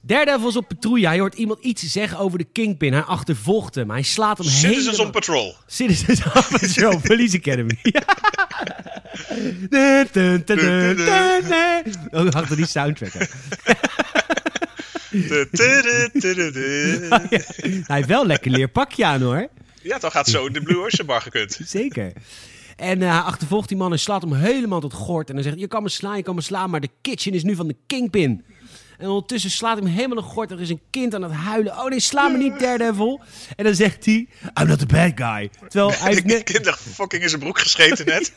[SPEAKER 2] Daredevils op patrouille. Hij hoort iemand iets zeggen over de Kingpin. Hij achtervolgt hem. Hij slaat hem
[SPEAKER 3] Citizens
[SPEAKER 2] helemaal...
[SPEAKER 3] on
[SPEAKER 2] [laughs]
[SPEAKER 3] patrol.
[SPEAKER 2] Citizens on
[SPEAKER 3] [laughs]
[SPEAKER 2] Patrol. Police Academy. Ja. Dun, dun, dun, dun, dun, dun. Oh, achter die soundtrack. aan.
[SPEAKER 3] De- tudu, tudu, tudu.
[SPEAKER 2] [laughs] Hij heeft wel een lekker leerpakje aan, hoor.
[SPEAKER 3] Ja, dan gaat zo in de Blue Ocean bar gekund.
[SPEAKER 2] [laughs] Zeker. En eh, hij achtervolgt die man en slaat hem helemaal tot gort. En dan zegt hij, je kan me slaan, je kan me slaan, maar de kitchen is nu van de kingpin. En ondertussen slaat hij hem helemaal tot gort. Er is een kind aan het huilen. Oh nee, sla me niet, Daredevil. En dan zegt hij, I'm not the bad guy. Terwijl hij heeft
[SPEAKER 3] De
[SPEAKER 2] [laughs] net-
[SPEAKER 3] kinder fucking in zijn broek gescheten
[SPEAKER 2] [laughs]
[SPEAKER 3] net.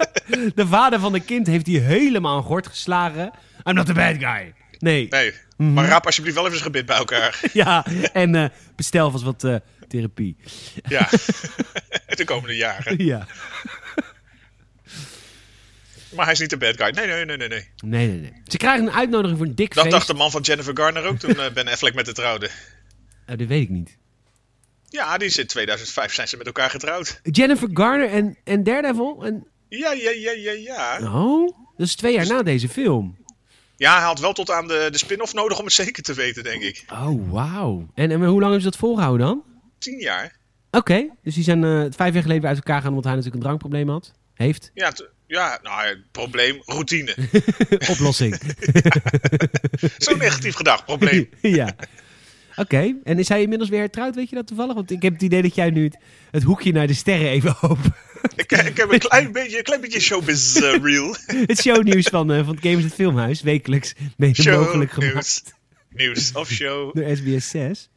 [SPEAKER 2] de vader van de kind heeft hij helemaal aan gort geslagen. I'm not the bad guy. Nee,
[SPEAKER 3] Nee,
[SPEAKER 2] Mhm.
[SPEAKER 3] maar raap alsjeblieft wel even zijn gebit bij elkaar.
[SPEAKER 2] [laughs] ja. En eh, bestel vast wat eh, therapie.
[SPEAKER 3] Ja, [laughs] de komende jaren.
[SPEAKER 2] [laughs] ja.
[SPEAKER 3] Maar hij is niet de bad guy. Nee, nee, nee, nee. nee.
[SPEAKER 2] Nee, nee, nee. Ze krijgen een uitnodiging voor een dik
[SPEAKER 3] Dat
[SPEAKER 2] feest.
[SPEAKER 3] dacht de man van Jennifer Garner ook toen eh, Ben Affleck met haar trouwde.
[SPEAKER 2] Eh, dat weet ik niet.
[SPEAKER 3] Ja, die is in 2005 zijn ze met elkaar getrouwd.
[SPEAKER 2] Jennifer Garner en, en Daredevil. En
[SPEAKER 3] Ja, ja, ja, ja, ja.
[SPEAKER 2] Oh, dat is twee jaar na deze film.
[SPEAKER 3] Ja, hij had wel tot aan de, de spin-off nodig om het [laughs] zeker te weten, denk ik.
[SPEAKER 2] Oh, wauw. En, en hoe lang hebben ze dat volgehouden dan?
[SPEAKER 3] Tien jaar.
[SPEAKER 2] Oké, dus die zijn eh, vijf jaar geleden weer uit elkaar gegaan omdat hij natuurlijk een drankprobleem had. Heeft.
[SPEAKER 3] Ja, t- ja, nou, eh, probleem, routine.
[SPEAKER 2] [laughs] Oplossing.
[SPEAKER 3] Zo negatief gedacht, probleem.
[SPEAKER 2] [laughs] ja. Oké, en is hij inmiddels weer hertrouwd? Weet je dat toevallig? Want ik heb het idee dat jij nu het, het hoekje naar de sterren even [laughs] open.
[SPEAKER 3] Ik, eh, ik heb een klein
[SPEAKER 2] [laughs]
[SPEAKER 3] beetje, een klein beetje showbiz eh, reel.
[SPEAKER 2] het shownieuws van, eh, van het Games het Filmhuis, wekelijks mede mogelijk gemaakt
[SPEAKER 3] Shownieuws. Nieuws of show.
[SPEAKER 2] door SBS 6.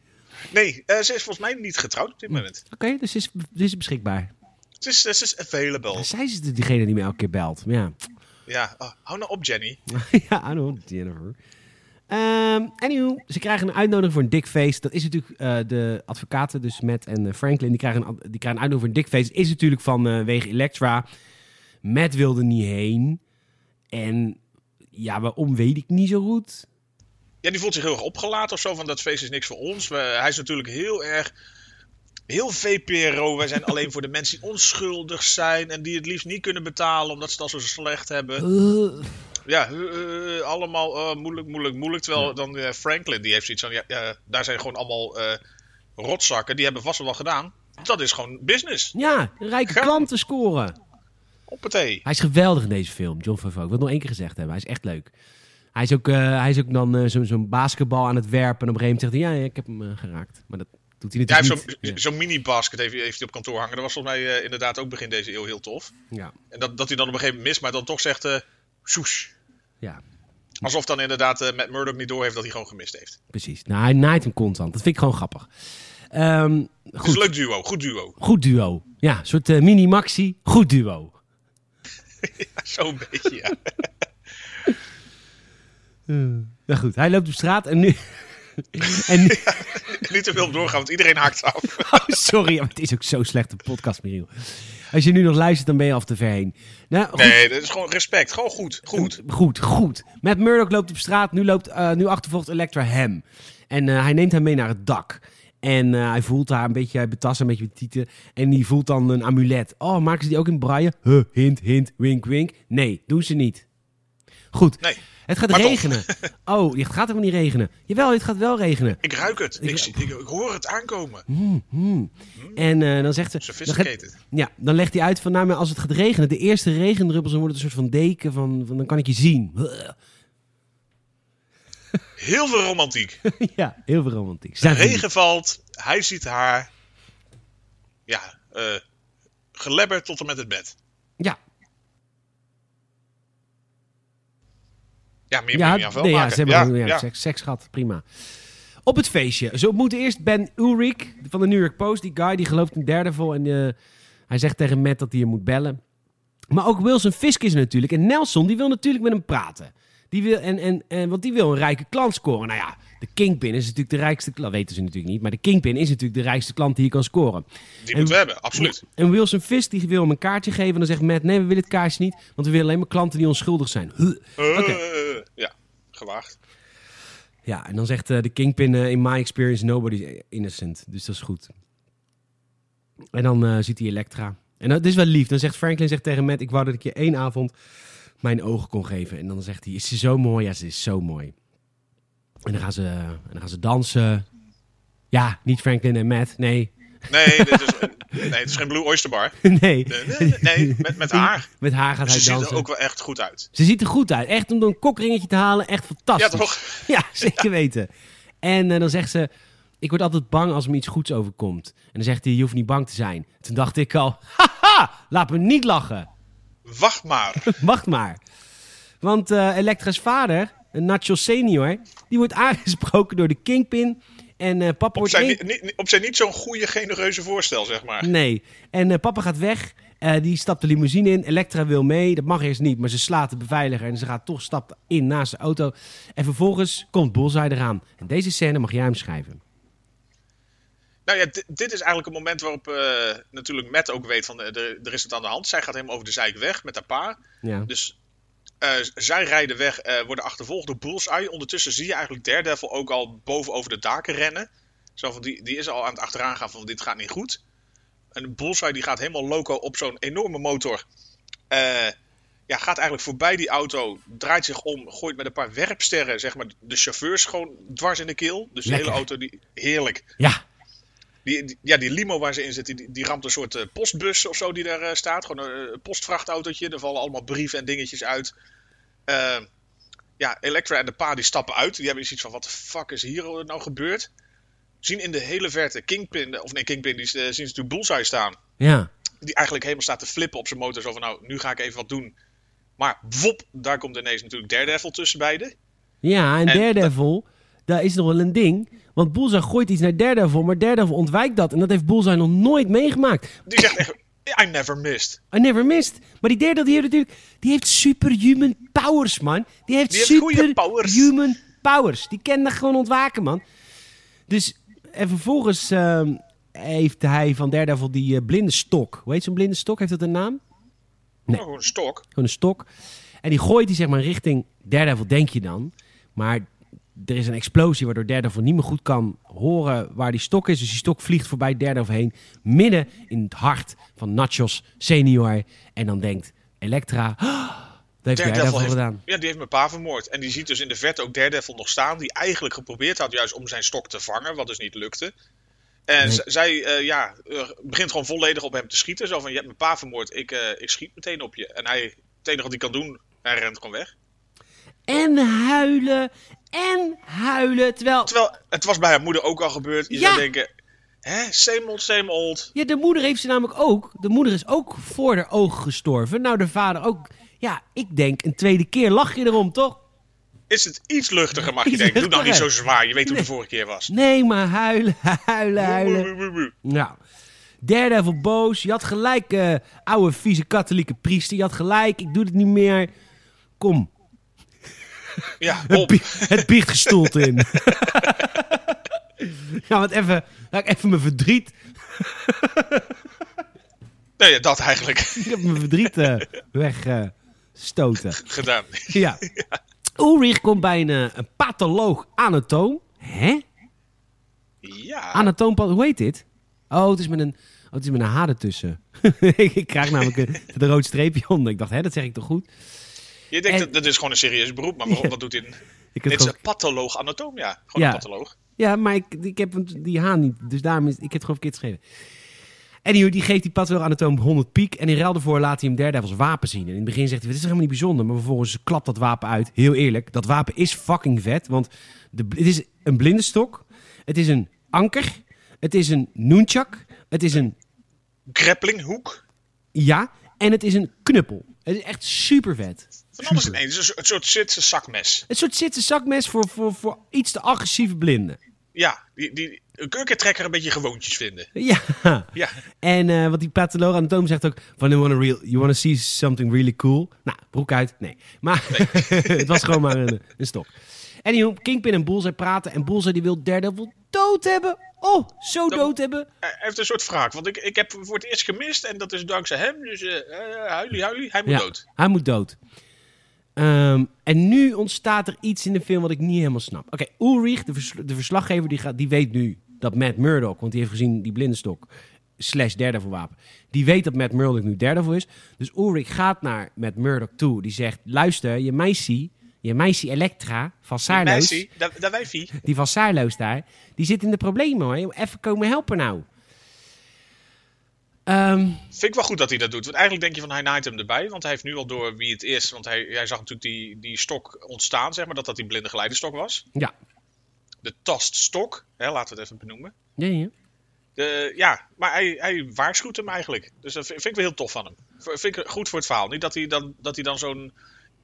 [SPEAKER 3] Nee, eh, ze is volgens mij niet getrouwd op dit moment.
[SPEAKER 2] Oké, dus ze is, ze is beschikbaar.
[SPEAKER 3] Ze is, ze is available.
[SPEAKER 2] Zij is de- diegene die mij elke keer belt. Ja.
[SPEAKER 3] Ja, oh, hou nou op, Jenny.
[SPEAKER 2] [laughs] ja, I know, Jennifer. Ehm anywho, ze krijgen een uitnodiging voor een dik feest. Dat is natuurlijk eh, de advocaten, dus Matt en eh, Franklin, die krijgen, een, ad- die krijgen een uitnodiging voor een dik feest. Is natuurlijk vanwege Elektra. Matt wilde niet heen. En ja, waarom weet ik niet zo goed.
[SPEAKER 3] Ja, die voelt zich heel erg opgelaten of zo. Van dat feest is niks voor ons. We- hij is natuurlijk heel erg. Heel VPRO. Wij zijn alleen voor de [laughs] mensen die onschuldig zijn. En die het liefst niet kunnen betalen. Omdat ze dat zo slecht hebben.
[SPEAKER 2] Ugh.
[SPEAKER 3] Ja, eh, eh, allemaal eh, moeilijk, moeilijk, moeilijk. Terwijl dan eh, Franklin, die heeft zoiets van. Ja, ja, daar zijn gewoon allemaal eh, rotzakken. Die hebben vast wel wat gedaan. Dat is gewoon business.
[SPEAKER 2] ja, een rijke
[SPEAKER 3] Ga-
[SPEAKER 2] klanten scoren.
[SPEAKER 3] Hoppatee.
[SPEAKER 2] Hij is geweldig in deze film, John Favreau. Ik wil het nog één keer gezegd hebben. Hij is echt leuk. Hij is ook, eh, hij is ook dan eh, zo- zo'n basketbal aan het werpen. En op een gegeven moment zegt hij, ja, ja, ik heb hem eh, geraakt. Maar dat doet hij
[SPEAKER 3] Ja, hij
[SPEAKER 2] natuurlijk
[SPEAKER 3] heeft zo'n
[SPEAKER 2] niet. Ja.
[SPEAKER 3] zo'n mini-basket heeft, heeft hij op kantoor hangen. Dat was volgens mij eh, inderdaad ook begin deze eeuw heel tof.
[SPEAKER 2] Ja,
[SPEAKER 3] En dat, dat hij dan op een gegeven moment mist, maar dan toch zegt... eh soes.
[SPEAKER 2] ja,
[SPEAKER 3] Alsof dan inderdaad met Matt Murdock niet doorheeft dat hij gewoon gemist heeft.
[SPEAKER 2] precies. Nou, hij naait hem constant. Dat vind ik gewoon grappig. Ehm,
[SPEAKER 3] Het is een
[SPEAKER 2] goed,
[SPEAKER 3] leuk duo, goed duo. [laughs]
[SPEAKER 2] goed duo. Ja, een soort eh, mini-maxi. Goed duo.
[SPEAKER 3] Zo'n beetje, ja. [laughs]
[SPEAKER 2] Nou goed, hij loopt op straat en nu... [laughs] En,
[SPEAKER 3] Niet te veel op doorgaan, want iedereen haakt af.
[SPEAKER 2] [laughs] oh, sorry, maar het is ook zo slecht een podcast, Michiel. Als je nu nog luistert, dan ben je al te ver heen. Nou, goed,
[SPEAKER 3] Nee, dat is gewoon respect. Gewoon goed. Goed.
[SPEAKER 2] Goed, goed. Matt Murdock loopt op straat. Nu, loopt, eh, nu achtervolgt Elektra hem. En eh, hij neemt haar mee naar het dak. En eh, hij voelt haar een beetje, hij betast haar een beetje met tieten. En die voelt dan een amulet. Oh, maken ze die ook in braille? Huh, hint, hint, wink, wink. Nee, doen ze niet. Goed.
[SPEAKER 3] Nee.
[SPEAKER 2] Het gaat
[SPEAKER 3] Maar toch. [laughs]
[SPEAKER 2] regenen. Oh, het gaat helemaal niet regenen. Jawel, het gaat wel regenen.
[SPEAKER 3] Ik ruik het. Ik,
[SPEAKER 2] Ik-
[SPEAKER 3] zie- ik, ik hoor het aankomen.
[SPEAKER 2] En eh, dan zegt ze... dan gaat-
[SPEAKER 3] Hmm. Sophisticated.
[SPEAKER 2] ja, dan legt hij uit van, nou, maar als het gaat regenen, de eerste regendruppels, dan wordt het een soort van deken van, van dan kan ik je zien. [laughs]
[SPEAKER 3] Heel veel
[SPEAKER 2] [laughs]
[SPEAKER 3] romantiek.
[SPEAKER 2] ja, heel veel romantiek. Zijn jullie-
[SPEAKER 3] Regen valt. Hij ziet haar. Ja, eh gelebberd tot en met het bed.
[SPEAKER 2] Ja,
[SPEAKER 3] Ja, meer moet
[SPEAKER 2] ja,
[SPEAKER 3] je niet aan vuil
[SPEAKER 2] nee, ja,
[SPEAKER 3] maken.
[SPEAKER 2] ze hebben gewoon- ja,
[SPEAKER 3] ja.
[SPEAKER 2] Seks, seks gehad, prima. Op het feestje. Ze ontmoeten eerst Ben Ulrich van de New York Post. Die guy die gelooft een derde vol. En eh, hij zegt tegen Matt dat hij hem moet bellen. Maar ook Wilson Fisk is er natuurlijk. En Nelson die wil natuurlijk met hem praten. Die wil, en, en, en, want die wil een rijke klant scoren. Nou ja, de Kingpin is natuurlijk de rijkste klant. Dat weten ze natuurlijk niet. Maar de Kingpin is natuurlijk de rijkste klant die je kan scoren.
[SPEAKER 3] Die moeten we hebben, absoluut.
[SPEAKER 2] En Wilson Fisk die wil hem een kaartje geven. En dan zegt Matt, nee, we willen het kaartje niet. Want we willen alleen maar klanten die onschuldig zijn. Huh.
[SPEAKER 3] Eh,
[SPEAKER 2] Oké.
[SPEAKER 3] Ja, gewaagd.
[SPEAKER 2] Ja, en dan zegt eh, de Kingpin, eh, in my experience, nobody's innocent. Dus dat is goed. En dan eh, ziet hij Elektra. En dat is wel lief. Dan zegt Franklin zegt tegen Matt, ik wou dat ik je één avond mijn ogen kon geven. En dan zegt hij, is ze zo mooi? Ja, ze is zo mooi. En dan gaan ze, en dan gaan ze dansen. Ja, niet Franklin en Matt, nee. [laughs]
[SPEAKER 3] Nee, dit is, nee, het is geen Blue Oyster Bar.
[SPEAKER 2] nee.
[SPEAKER 3] Nee, nee, nee, met, met haar.
[SPEAKER 2] Met haar gaat
[SPEAKER 3] Ze
[SPEAKER 2] hij
[SPEAKER 3] ziet er
[SPEAKER 2] dansen.
[SPEAKER 3] ook wel echt goed uit.
[SPEAKER 2] Ze ziet er goed uit. Echt om door een kokringetje te halen, echt fantastisch.
[SPEAKER 3] Ja, toch?
[SPEAKER 2] [laughs] Ja, zeker weten. En eh, dan zegt ze, ik word altijd bang als me iets goeds overkomt. En dan zegt hij, je hoeft niet bang te zijn. Toen dacht ik al, [laughs] haha, laat me niet lachen.
[SPEAKER 3] Wacht
[SPEAKER 2] [laughs]
[SPEAKER 3] maar.
[SPEAKER 2] Wacht maar. Want eh Elektra's vader, Nacho senior, die wordt aangesproken door de Kingpin. En eh, papa
[SPEAKER 3] Op
[SPEAKER 2] wordt...
[SPEAKER 3] zijn,
[SPEAKER 2] één-
[SPEAKER 3] niet, niet- op zijn niet zo'n goede, genereuze voorstel, zeg maar.
[SPEAKER 2] Nee. En eh, papa gaat weg. Eh, die stapt de limousine in. Elektra wil mee. Dat mag eerst niet. Maar ze slaat de beveiliger. En ze gaat toch stapt in naast de auto. En vervolgens komt Bullseye eraan. En deze scène mag jij hem schrijven.
[SPEAKER 3] Nou ja, di- dit is eigenlijk een moment waarop eh, natuurlijk Matt ook weet van eh, er, er is het aan de hand. Zij gaat helemaal over de zijk weg met haar pa.
[SPEAKER 2] Ja.
[SPEAKER 3] Dus eh, z- zij rijden weg, eh, worden achtervolgd door Bullseye. Ondertussen zie je eigenlijk Daredevil ook al boven over de daken rennen. Zo van, die, die is al aan het achteraan gaan van dit gaat niet goed. En Bullseye die gaat helemaal loco op zo'n enorme motor. Eh, ja, gaat eigenlijk voorbij die auto, draait zich om, gooit met een paar werpsterren zeg maar, de chauffeurs gewoon dwars in de keel. Dus de
[SPEAKER 2] Lekker.
[SPEAKER 3] hele auto, die, heerlijk.
[SPEAKER 2] Ja.
[SPEAKER 3] Die, die- ja, die limo waar ze in zit, die, die ramt een soort eh, postbus of zo die daar eh, staat. Gewoon een eh, postvrachtautootje. Er vallen allemaal brieven en dingetjes uit. Eh, ja, Elektra en de pa die stappen uit. Die hebben iets van, wat de fuck is hier nou gebeurd? Zien in de hele verte Kingpin, of nee, Kingpin, die eh, zien ze natuurlijk Bullseye staan.
[SPEAKER 2] Ja.
[SPEAKER 3] Die eigenlijk helemaal staat te flippen op zijn motor. Zo van, nou, nu ga ik even wat doen. Maar wop, daar komt ineens natuurlijk Daredevil tussen beiden.
[SPEAKER 2] Ja, en,
[SPEAKER 3] En-
[SPEAKER 2] Daredevil, daar is nog wel een ding. Want Bullseye gooit iets naar Daredevil, maar Daredevil ontwijkt dat. En dat heeft Bullseye nog nooit meegemaakt.
[SPEAKER 3] Die zegt echt, I never missed.
[SPEAKER 2] I never missed. Maar die Daredevil, die heeft natuurlijk... Die heeft superhuman powers, man. Die heeft,
[SPEAKER 3] Die heeft goeie
[SPEAKER 2] superhuman
[SPEAKER 3] powers.
[SPEAKER 2] powers. Die kan dat gewoon ontwaken, man. Dus, en vervolgens ehm, heeft hij van Daredevil die eh, blinde stok. Hoe heet zo'n blinde stok? Heeft dat een naam?
[SPEAKER 3] Oh, gewoon een stok.
[SPEAKER 2] Gewoon een stok. En die gooit die zeg maar richting Daredevil, denk je dan. Maar er is een explosie waardoor Daredevil niet meer goed kan horen waar die stok is. Dus die stok vliegt voorbij Daredevil heen. Midden in het hart van Nachos senior. En dan denkt Elektra... "Ah, dat heeft Daredevil,
[SPEAKER 3] Daredevil heeft,
[SPEAKER 2] gedaan.
[SPEAKER 3] Ja, die heeft mijn pa vermoord. En die ziet dus in de verte ook Daredevil nog staan. Die eigenlijk geprobeerd had juist om zijn stok te vangen. Wat dus niet lukte. En z- zij eh, ja, eh, begint gewoon volledig op hem te schieten. Zo van, je hebt mijn pa vermoord. Ik, eh, ik schiet meteen op je. En hij, het enige wat hij kan doen, hij rent gewoon weg.
[SPEAKER 2] En huilen. En huilen. Terwijl...
[SPEAKER 3] Terwijl, het was bij haar moeder ook al gebeurd. Je
[SPEAKER 2] Ja.
[SPEAKER 3] zou denken, hè, same old, same old.
[SPEAKER 2] Ja, de moeder heeft ze namelijk ook. De moeder is ook voor haar ogen gestorven. Nou, de vader ook. Ja, ik denk een tweede keer lach je erom, toch?
[SPEAKER 3] Is het iets luchtiger, mag je
[SPEAKER 2] Iets
[SPEAKER 3] denken. Doe nou niet zo
[SPEAKER 2] luchtiger.
[SPEAKER 3] zwaar. Je weet hoe de vorige keer was.
[SPEAKER 2] Nee, maar huilen, [laughs] huilen, huilen.
[SPEAKER 3] Woe, woe, woe, woe.
[SPEAKER 2] Nou, Daredevil boos. Je had gelijk, eh, oude vieze katholieke priester. Je had gelijk, ik doe dit niet meer. Kom.
[SPEAKER 3] Ja,
[SPEAKER 2] Het,
[SPEAKER 3] Bob.
[SPEAKER 2] bie- het biecht gestoeld in. ja, want even, laat ik even mijn verdriet,
[SPEAKER 3] Nee, ja, dat eigenlijk [laughs]
[SPEAKER 2] ik heb mijn verdriet eh, wegstoten.
[SPEAKER 3] gedaan.
[SPEAKER 2] ja. Ulrich komt bij een, eh, een patholoog anatoom. Hè?
[SPEAKER 3] Ja.
[SPEAKER 2] Anatoom, hoe heet dit? Oh, het is met een, oh, het is met een H ertussen. [laughs] ik, ik krijg namelijk een, een rood streepje onder. Ik dacht, hè, dat zeg ik toch goed?
[SPEAKER 3] Je denkt,
[SPEAKER 2] En-
[SPEAKER 3] dat, dat is gewoon een serieus beroep, maar waarom, wat doet dit? Dit
[SPEAKER 2] Ik heb
[SPEAKER 3] is
[SPEAKER 2] gewoon-
[SPEAKER 3] een patholoog anatoom, ja. Gewoon
[SPEAKER 2] Ja.
[SPEAKER 3] een patholoog.
[SPEAKER 2] Ja, maar ik, ik heb hem- die H niet. Dus daarom is, ik heb het gewoon verkeerd geschreven. Anywho, die geeft die patholoog anatoom 100 piek. En in ruil daarvoor laat hij hem Daredevils wapen zien. En in het begin zegt hij, dit is toch helemaal niet bijzonder. Maar vervolgens klapt dat wapen uit. Heel eerlijk, dat wapen is fucking vet. Want de, het is een blinde stok. Het is een anker. Het is een nunchak. Het is een
[SPEAKER 3] Grapplinghoek.
[SPEAKER 2] ja. En het is een knuppel. Het is echt super vet.
[SPEAKER 3] Van alles in één. Het is een soort Zwitserse zakmes.
[SPEAKER 2] Een soort zitten zakmes voor, voor, voor iets te agressieve blinden.
[SPEAKER 3] Ja, die, die een kurkentrekker een beetje gewoontjes vinden.
[SPEAKER 2] Ja.
[SPEAKER 3] Ja,
[SPEAKER 2] En eh wat die patholoog anatoom zegt ook van you wanna, real, you wanna see something really cool. Nou, broek uit. Nee. Maar [laughs] het was gewoon maar een, een stok. Anywho, Kingpin en Bullseye praten en Bullseye die wil Daredevil dood hebben. Oh, zo
[SPEAKER 3] Dat-
[SPEAKER 2] dood hebben.
[SPEAKER 3] hij heeft een soort wraak. Want ik, ik heb hem voor het eerst gemist en dat is dankzij hem. Dus eh eh, huilie, huilie, hij moet
[SPEAKER 2] ja,
[SPEAKER 3] dood.
[SPEAKER 2] Hij moet dood. Ehm, en nu ontstaat er iets in de film wat ik niet helemaal snap. Oké, Ulrich, de, vers- de verslaggever, die, gaat, die weet nu dat Matt Murdock, want die heeft gezien die blindenstok slash Daredevil wapen. Die weet dat Matt Murdock nu Daredevil is. Dus Ulrich gaat naar Matt Murdock toe. Die zegt, luister, je meisje, je meisje Elektra van Saarloos
[SPEAKER 3] Messi, daar daar wijfie.
[SPEAKER 2] die van Saarloos daar, die zit in de problemen hoor. Even komen helpen nou. Ehm,
[SPEAKER 3] Vind ik wel goed dat hij dat doet. Want eigenlijk denk je van hij naait hem erbij. Want hij heeft nu al door wie het is. Want hij, hij zag natuurlijk die, die stok ontstaan, zeg maar. Dat dat die blinde geleiderstok was.
[SPEAKER 2] ja.
[SPEAKER 3] De taststok, hè, laten we het even benoemen.
[SPEAKER 2] Ja, ja.
[SPEAKER 3] De, Eh, ja, maar hij, hij waarschuwt hem eigenlijk. Dus dat vind, vind ik wel heel tof van hem. V- Vind ik goed voor het verhaal. Niet dat hij dan, dat hij dan zo'n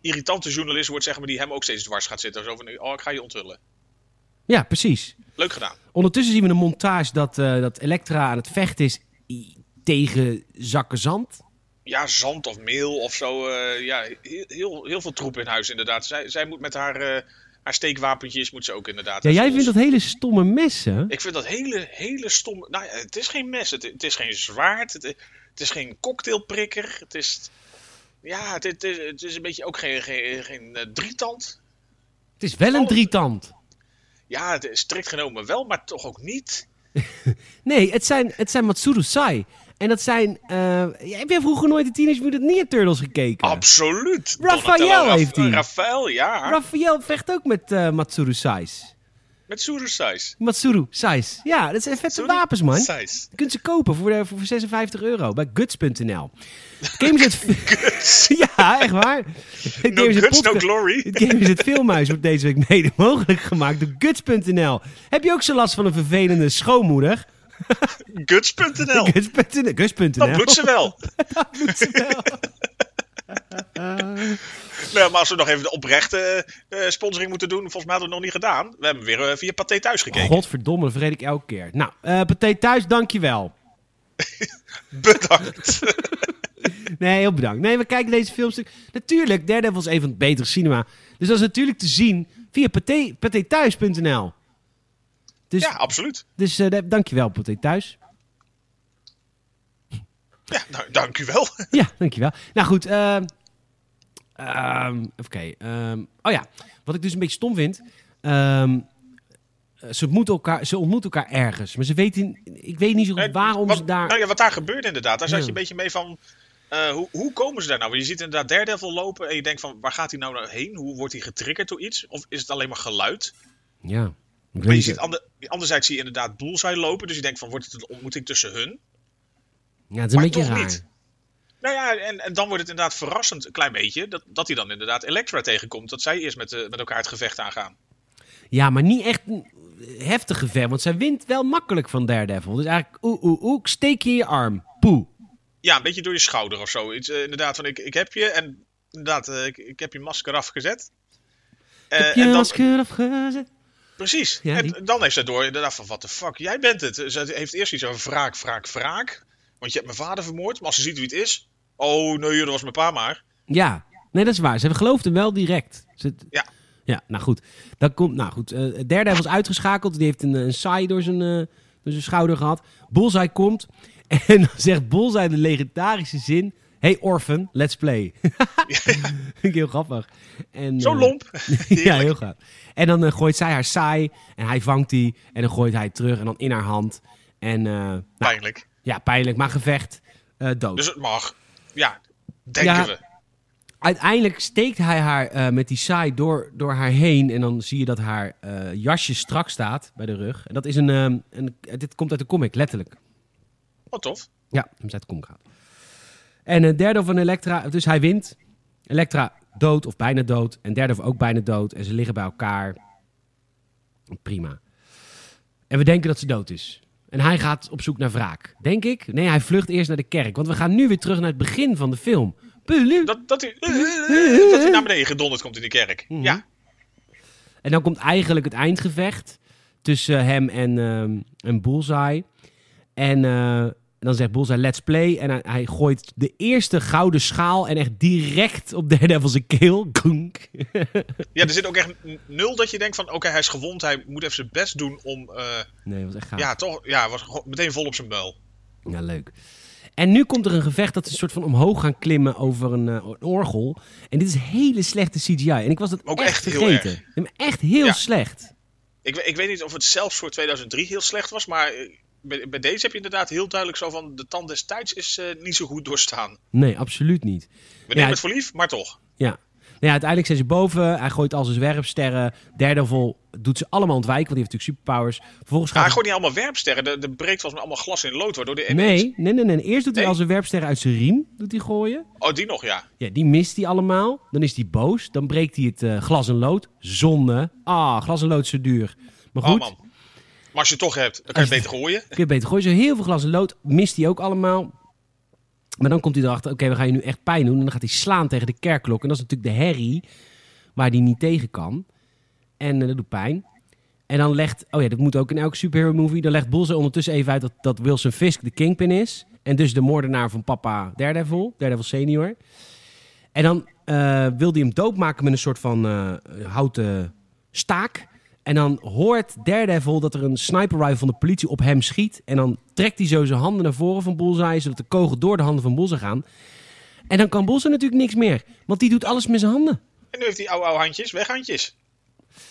[SPEAKER 3] irritante journalist wordt, zeg maar, die hem ook steeds dwars gaat zitten. Zo van, oh, ik ga je onthullen.
[SPEAKER 2] ja, precies.
[SPEAKER 3] Leuk gedaan.
[SPEAKER 2] Ondertussen zien we een montage dat, eh, dat Elektra aan het vechten is i- tegen zakken zand.
[SPEAKER 3] Ja, zand of meel of zo. eh, ja, heel, heel, heel veel troep in huis inderdaad. Zij, zij moet met haar, eh, haar steekwapentjes, moet ze ook inderdaad. Dus
[SPEAKER 2] Ja, jij
[SPEAKER 3] Zoals-
[SPEAKER 2] vindt dat hele stomme messen.
[SPEAKER 3] Ik vind dat hele, hele stom. Nou, ja, het is geen mes, het, het is geen zwaard, het, het is geen cocktailprikker. Het is. Ja, het, het, is, het is een beetje ook geen, geen, geen eh, drietand.
[SPEAKER 2] Het is wel een drietand.
[SPEAKER 3] Ja, het is strikt genomen wel, maar toch ook niet.
[SPEAKER 2] Nee, het zijn, het zijn Matsuru-sai. En dat zijn... eh, heb jij vroeger nooit de Teenage Mutant Ninja Turtles gekeken?
[SPEAKER 3] Absoluut.
[SPEAKER 2] Raphaël
[SPEAKER 3] Donatello, Raf-
[SPEAKER 2] heeft die.
[SPEAKER 3] Raphaël, ja.
[SPEAKER 2] Raphaël vecht ook met eh, Matsuru-sai's.
[SPEAKER 3] Met Soerusais.
[SPEAKER 2] Matsuru-sai's. Ja, dat zijn vette wapens, man.
[SPEAKER 3] Sais.
[SPEAKER 2] Je kunt ze kopen voor, eh, voor 56 euro bij guts.nl. Games het... [laughs] ja, echt waar.
[SPEAKER 3] No
[SPEAKER 2] Games het
[SPEAKER 3] guts, no
[SPEAKER 2] podcast-
[SPEAKER 3] glory.
[SPEAKER 2] [laughs] Het game is het filmhuis wordt deze week mede mogelijk gemaakt door guts.nl. Heb je ook zo last van een vervelende schoonmoeder?
[SPEAKER 3] Guts.nl.
[SPEAKER 2] Guts.nl.
[SPEAKER 3] Dan
[SPEAKER 2] Guts.nl.
[SPEAKER 3] bloedt Oh.
[SPEAKER 2] [laughs]
[SPEAKER 3] ze wel. [laughs] Nou, maar als we nog even de oprechte eh, sponsoring moeten doen, volgens mij hadden we het nog niet gedaan. We hebben weer eh, via Pathé thuis gekeken.
[SPEAKER 2] Godverdomme, dat vergeet ik elke keer. Nou, eh Pathé thuis, dankjewel. [laughs]
[SPEAKER 3] Bedankt.
[SPEAKER 2] Nee, heel bedankt. Nee, we kijken deze filmstuk. Natuurlijk, Daredevil is een van het betere cinema. Dus dat is natuurlijk te zien via pathé- pathéthuis.nl. Dus,
[SPEAKER 3] ja, absoluut.
[SPEAKER 2] dus eh, da- dankjewel, Pathé thuis.
[SPEAKER 3] Ja, nou, dank u wel.
[SPEAKER 2] Ja, dankjewel. Nou goed, ehm, ehm, even kijken. ehm, oh ja, wat ik dus een beetje stom vind. ehm, ze, ontmoeten elkaar, ze ontmoeten elkaar ergens. Maar ze weten, ik weet niet zo goed
[SPEAKER 3] Nee,
[SPEAKER 2] waarom
[SPEAKER 3] wat,
[SPEAKER 2] ze daar...
[SPEAKER 3] Nou ja, wat daar gebeurt inderdaad. Daar zat
[SPEAKER 2] Ja.
[SPEAKER 3] je een beetje mee van... eh, hoe, hoe komen ze daar nou? Want je ziet inderdaad Daredevil lopen en je denkt van... Waar gaat hij nou nou heen? Hoe wordt hij getriggerd door iets? Of is het alleen maar geluid?
[SPEAKER 2] ja, ik weet
[SPEAKER 3] Maar je
[SPEAKER 2] niet.
[SPEAKER 3] ziet ander, anderzijds zie je inderdaad Bullseye lopen. Dus je denkt van, wordt het een ontmoeting tussen hun?
[SPEAKER 2] ja, het is een
[SPEAKER 3] maar
[SPEAKER 2] beetje
[SPEAKER 3] toch
[SPEAKER 2] raar.
[SPEAKER 3] niet. Nou ja, en, en dan wordt het inderdaad verrassend, een klein beetje... dat, dat hij dan inderdaad Elektra tegenkomt. Dat zij eerst met, eh, met elkaar het gevecht aangaan.
[SPEAKER 2] Ja, maar niet echt een heftige ver. Want zij wint wel makkelijk van Daredevil. Dus eigenlijk, oeh, oeh, oeh, steek je je arm. Poeh.
[SPEAKER 3] Ja, een beetje door je schouder of zo. Iets, eh, inderdaad, van ik, ik heb je en inderdaad, eh, ik, ik heb je masker afgezet. Eh,
[SPEAKER 2] Heb je
[SPEAKER 3] en dan-
[SPEAKER 2] masker afgezet?
[SPEAKER 3] Precies.
[SPEAKER 2] Ja,
[SPEAKER 3] en
[SPEAKER 2] die-
[SPEAKER 3] dan heeft zij door inderdaad van, wat de fuck, jij bent het. Ze heeft eerst iets van wraak, wraak, wraak. Want je hebt mijn vader vermoord, maar als ze ziet wie het is... Oh, nee, dat was mijn pa maar.
[SPEAKER 2] Ja, nee, dat is waar. Ze geloofden wel direct. Ze,
[SPEAKER 3] Ja.
[SPEAKER 2] Ja, nou goed. Dan komt, nou goed. eh, het derde was uitgeschakeld. Die heeft een, eh, een saai door zijn, eh, door zijn schouder gehad. Bullseye komt. [laughs] En dan zegt Bullseye de legendarische zin. Hey Orphan, let's play. [laughs] Vind ik heel grappig. En,
[SPEAKER 3] Zo
[SPEAKER 2] eh,
[SPEAKER 3] lomp.
[SPEAKER 2] [laughs] ja, heel gaaf. En dan eh, gooit zij haar saai. En hij vangt die. En dan gooit hij terug. En dan in haar hand. En eh, nou,
[SPEAKER 3] Pijnlijk.
[SPEAKER 2] ja, pijnlijk. Maar gevecht. eh, dood.
[SPEAKER 3] Dus het mag. Ja, denken
[SPEAKER 2] Ja.
[SPEAKER 3] we.
[SPEAKER 2] Uiteindelijk steekt hij haar eh, met die saai door, door haar heen. En dan zie je dat haar eh, jasje strak staat bij de rug. En dat is een, ehm, een. Dit komt uit de comic, letterlijk.
[SPEAKER 3] Wat tof.
[SPEAKER 2] Ja, hem uit de comic gaat. En een derde van Elektra. Dus hij wint. Elektra dood of bijna dood. En derde of ook bijna dood. En ze liggen bij elkaar. Prima. En we denken dat ze dood is. En hij gaat op zoek naar wraak. Denk ik? Nee, hij vlucht eerst naar de kerk. Want we gaan nu weer terug naar het begin van de film. Pulu.
[SPEAKER 3] Dat, dat, hij, eh, dat hij naar beneden gedonderd komt in de kerk. Ja,
[SPEAKER 2] En dan komt eigenlijk het eindgevecht tussen hem en, ehm en Bullseye. En eh, dan zegt Bullseye let's play. En hij, hij gooit de eerste gouden schaal en echt direct op [laughs] Daredevil zijn keel. Goenk.
[SPEAKER 3] ja, er zit ook echt n- nul dat je denkt van... Oké, hij is gewond. Hij moet even zijn best doen om... eh,
[SPEAKER 2] Nee, dat was echt gaaf. Ja.
[SPEAKER 3] ja, toch... Ja, was gewoon meteen vol op zijn buil.
[SPEAKER 2] leuk. En nu komt er een gevecht dat ze een soort van omhoog gaan klimmen over een, eh, een orgel. En dit is hele slechte CGI. En ik was dat
[SPEAKER 3] Ook
[SPEAKER 2] echt,
[SPEAKER 3] echt heel
[SPEAKER 2] vergeten. Heel Echt heel
[SPEAKER 3] Ja.
[SPEAKER 2] slecht.
[SPEAKER 3] Ik, we- ik weet niet of het zelfs voor 2003 heel slecht was, maar eh, bij, bij deze heb je inderdaad heel duidelijk zo van de tand des tijds is eh, niet zo goed doorstaan.
[SPEAKER 2] Nee, absoluut niet.
[SPEAKER 3] We nemen
[SPEAKER 2] het-
[SPEAKER 3] het voor lief, maar toch.
[SPEAKER 2] Ja. Nou ja, uiteindelijk zijn ze boven. Hij gooit al zijn zwerfsterren. Daredevil doet ze allemaal ontwijken, want die heeft natuurlijk superpowers. Vervolgens
[SPEAKER 3] Maar
[SPEAKER 2] gaat
[SPEAKER 3] hij gooit niet allemaal werpsterren, er, er breekt volgens mij allemaal glas in lood, waardoor de
[SPEAKER 2] Nee, nee, nee, nee. Eerst doet hij
[SPEAKER 3] Nee?
[SPEAKER 2] al zijn werpsterren uit zijn riem doet hij gooien.
[SPEAKER 3] Oh, die nog, ja.
[SPEAKER 2] Ja, die mist hij allemaal. Dan is hij boos. Dan breekt hij het eh, glas en lood. Zonde. Ah, glas en lood is zo duur. Maar
[SPEAKER 3] Oh
[SPEAKER 2] goed,
[SPEAKER 3] man. Maar als je het toch hebt, dan kan je het beter gooien.
[SPEAKER 2] kun je beter gooien. Zo heel veel glas en lood mist hij ook allemaal. Maar dan komt hij erachter, oké, we gaan je nu echt pijn doen. En dan gaat hij slaan tegen de kerkklok. En dat is natuurlijk de herrie waar hij niet tegen kan. En eh, dat doet pijn. En dan legt, oh ja, dat moet ook in elke superhero movie. Dan legt Bullseye ondertussen even uit dat, dat Wilson Fisk de kingpin is. En dus de moordenaar van papa Daredevil, Daredevil senior. En dan eh wil hij hem doodmaken met een soort van eh, houten staak. En dan hoort Daredevil dat er een sniper rifle van de politie op hem schiet. En dan trekt hij zo zijn handen naar voren van Bullseye, zodat de kogel door de handen van Bullseye gaan. En dan kan Bullseye natuurlijk niks meer, want die doet alles met zijn handen.
[SPEAKER 3] En nu heeft hij oude, oude handjes, weghandjes.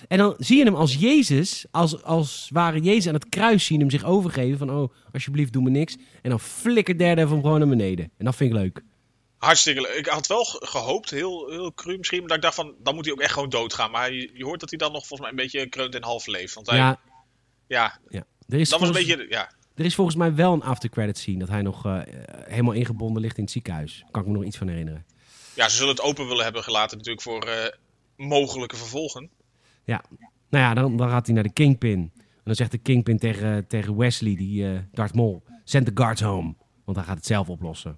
[SPEAKER 2] En dan zie je hem als Jezus, als, als ware Jezus aan het kruis zien hem zich overgeven. Van, oh, alsjeblieft, doe me niks. En dan flikkert Daredevil hem gewoon naar beneden. En dat vind ik leuk.
[SPEAKER 3] Hartstikke leuk. Ik had wel ge- gehoopt, heel, heel cru misschien, maar dat ik dacht van, dan moet hij ook echt gewoon doodgaan. Maar je, je hoort dat hij dan nog volgens mij een beetje kreunt en half leeft. Want hij, ja,
[SPEAKER 2] Ja, ja. Er, is
[SPEAKER 3] dat was een
[SPEAKER 2] volgens,
[SPEAKER 3] beetje, ja.
[SPEAKER 2] er is volgens mij wel een aftercredit scene. Dat hij nog eh, helemaal ingebonden ligt in het ziekenhuis. Kan ik me nog iets van herinneren.
[SPEAKER 3] Ja, ze zullen het open willen hebben gelaten natuurlijk voor eh, mogelijke vervolgen.
[SPEAKER 2] Ja. Nou ja, dan, dan gaat hij naar de Kingpin. En dan zegt de Kingpin tegen, tegen Wesley, die eh Darth Maul, send the guards home. Want hij gaat het zelf oplossen.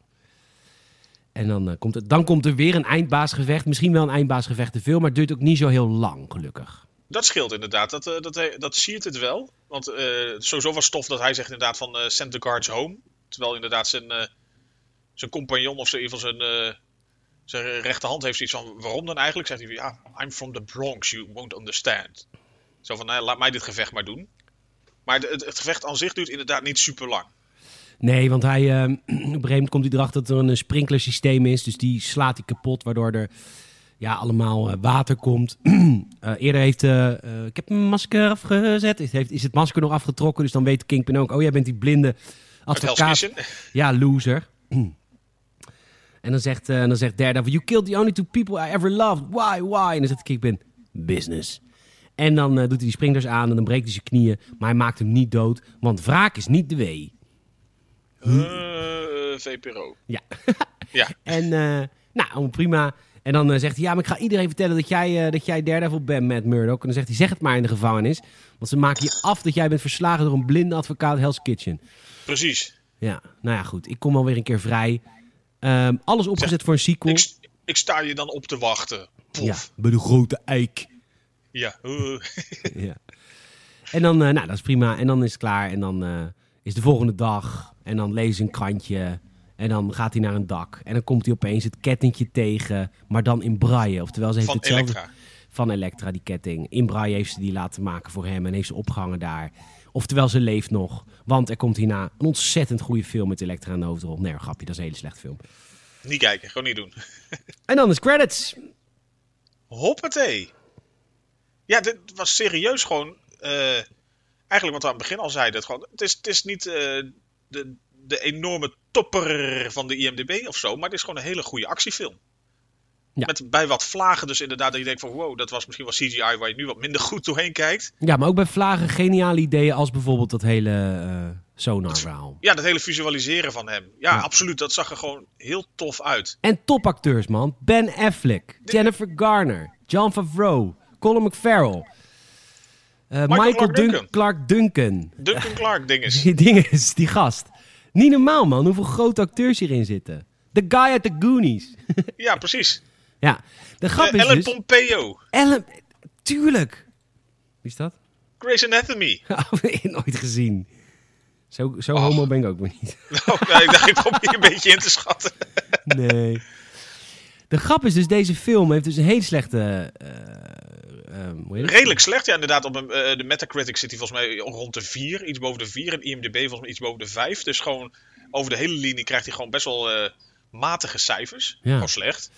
[SPEAKER 2] En dan, eh, komt, het, dan komt er weer een eindbaasgevecht. Misschien wel een eindbaasgevecht te veel, maar het duurt ook niet zo heel lang, gelukkig.
[SPEAKER 3] Dat scheelt inderdaad. Dat, eh, dat, eh, dat siert het wel. Want eh, sowieso was tof dat hij zegt inderdaad van eh send the guards home. Terwijl inderdaad zijn, eh, zijn compagnon of zo, in ieder geval zijn, eh, zijn rechterhand heeft zoiets van... Waarom dan eigenlijk? Zegt hij van ja, I'm from the Bronx, you won't understand. Zo van, nou, laat mij dit gevecht maar doen. Maar de- het, het gevecht aan zich duurt inderdaad niet super lang.
[SPEAKER 2] Nee, want hij, eh, [clears throat] op een gegeven moment komt hij erachter dat er een sprinklersysteem is. Dus die slaat hij kapot, waardoor er ja, allemaal eh, water komt. [clears throat] Eh, eerder heeft... eh, eh, ik heb mijn masker afgezet. Is, heeft, is het masker nog afgetrokken? Dus dan weet Kingpin ook... Oh, jij bent die blinde
[SPEAKER 3] Uit Hell's
[SPEAKER 2] advocaat.
[SPEAKER 3] Kitchen.
[SPEAKER 2] Ja, loser. [clears throat] en dan zegt, eh, dan zegt Daredevil... You killed the only two people I ever loved. Why, why? En dan zegt Kingpin... Business. En dan eh, doet hij die springers aan en dan breekt hij zijn knieën. Maar hij maakt hem niet dood, want wraak is niet de wee.
[SPEAKER 3] Eh, VPRO.
[SPEAKER 2] Ja. [laughs]
[SPEAKER 3] Ja.
[SPEAKER 2] En eh, nou, allemaal prima. En dan eh, zegt hij, ja, maar ik ga iedereen vertellen dat jij, eh, dat jij Daredevil bent met Murdoch. En dan zegt hij, zeg het maar in de gevangenis. Want ze maken je af dat jij bent verslagen door een blinde advocaat Hell's Kitchen.
[SPEAKER 3] Precies.
[SPEAKER 2] Ja, nou ja, goed. Ik kom alweer een keer vrij. Ehm, alles opgezet voor een sequel.
[SPEAKER 3] Ik, st- ik sta je dan op te wachten.
[SPEAKER 2] Ja,
[SPEAKER 3] Pof.
[SPEAKER 2] bij de grote eik.
[SPEAKER 3] Ja. eh. [laughs]
[SPEAKER 2] ja. En dan, eh, nou, dat is prima. En dan is het klaar. En dan eh, is de volgende dag. En dan lezen ze een krantje. En dan gaat hij naar een dak. En dan komt hij opeens het kettingje tegen. Maar dan in braille. Oftewel, ze heeft
[SPEAKER 3] Van
[SPEAKER 2] hetzelfde...
[SPEAKER 3] Elektra.
[SPEAKER 2] van Elektra, die ketting. In Braille heeft ze die laten maken voor hem en heeft ze opgehangen daar. Oftewel, ze leeft nog. Want er komt hierna een ontzettend goede film met Elektra in de hoofdrol. Nee, grapje, dat is een hele slechte film.
[SPEAKER 3] Niet kijken, gewoon niet doen.
[SPEAKER 2] En dan is credits.
[SPEAKER 3] Hoppatee. Ja, dit was serieus gewoon. eh, eigenlijk wat we aan het begin al zeiden. Het, gewoon, het, is, het is niet eh, de, de enorme topper van de IMDb of zo. Maar het is gewoon een hele goede actiefilm.
[SPEAKER 2] Ja.
[SPEAKER 3] Met bij wat vlagen dus inderdaad. Dat je denkt van wow, dat was misschien wel CGI waar je nu wat minder goed doorheen kijkt.
[SPEAKER 2] Ja, maar ook bij vlagen geniale ideeën als bijvoorbeeld dat hele eh sonar-verhaal.
[SPEAKER 3] Ja, dat hele visualiseren van hem. Ja,
[SPEAKER 2] Ja.
[SPEAKER 3] absoluut. Dat zag er gewoon heel tof uit.
[SPEAKER 2] En topacteurs, man. Ben Affleck, Jennifer Garner, John Favreau, Colin McFarrell. eh, Michael,
[SPEAKER 3] Clark
[SPEAKER 2] Dun-
[SPEAKER 3] Duncan.
[SPEAKER 2] Clark Duncan. [laughs]
[SPEAKER 3] Duncan Clark dinges.
[SPEAKER 2] Die ding is, die gast. Niet normaal, man, hoeveel grote acteurs hierin zitten. De guy uit de Goonies. [laughs]
[SPEAKER 3] Ja, precies.
[SPEAKER 2] ja, de grap
[SPEAKER 3] Eh,
[SPEAKER 2] is
[SPEAKER 3] Ellen
[SPEAKER 2] dus...
[SPEAKER 3] Pompeo.
[SPEAKER 2] Ellen... Tuurlijk. Wie is dat? [laughs]
[SPEAKER 3] Grey's Anatomy. [laughs]
[SPEAKER 2] Oh, Nooit gezien. Zo, zo
[SPEAKER 3] Och.
[SPEAKER 2] homo ben ik ook weer niet. [laughs]
[SPEAKER 3] Oh, nee, ik dacht, ik probeer een beetje in te schatten.
[SPEAKER 2] Nee. De grap is dus, deze film heeft dus een hele slechte... eh, eh, hoe heet het?
[SPEAKER 3] Redelijk slecht, ja, inderdaad. Op een, eh, de Metacritic zit hij volgens mij rond de 4, iets boven de 4. En IMDb volgens mij iets boven de 5. Dus gewoon over de hele linie krijgt hij gewoon best wel eh, matige cijfers.
[SPEAKER 2] Ja.
[SPEAKER 3] Gewoon slecht.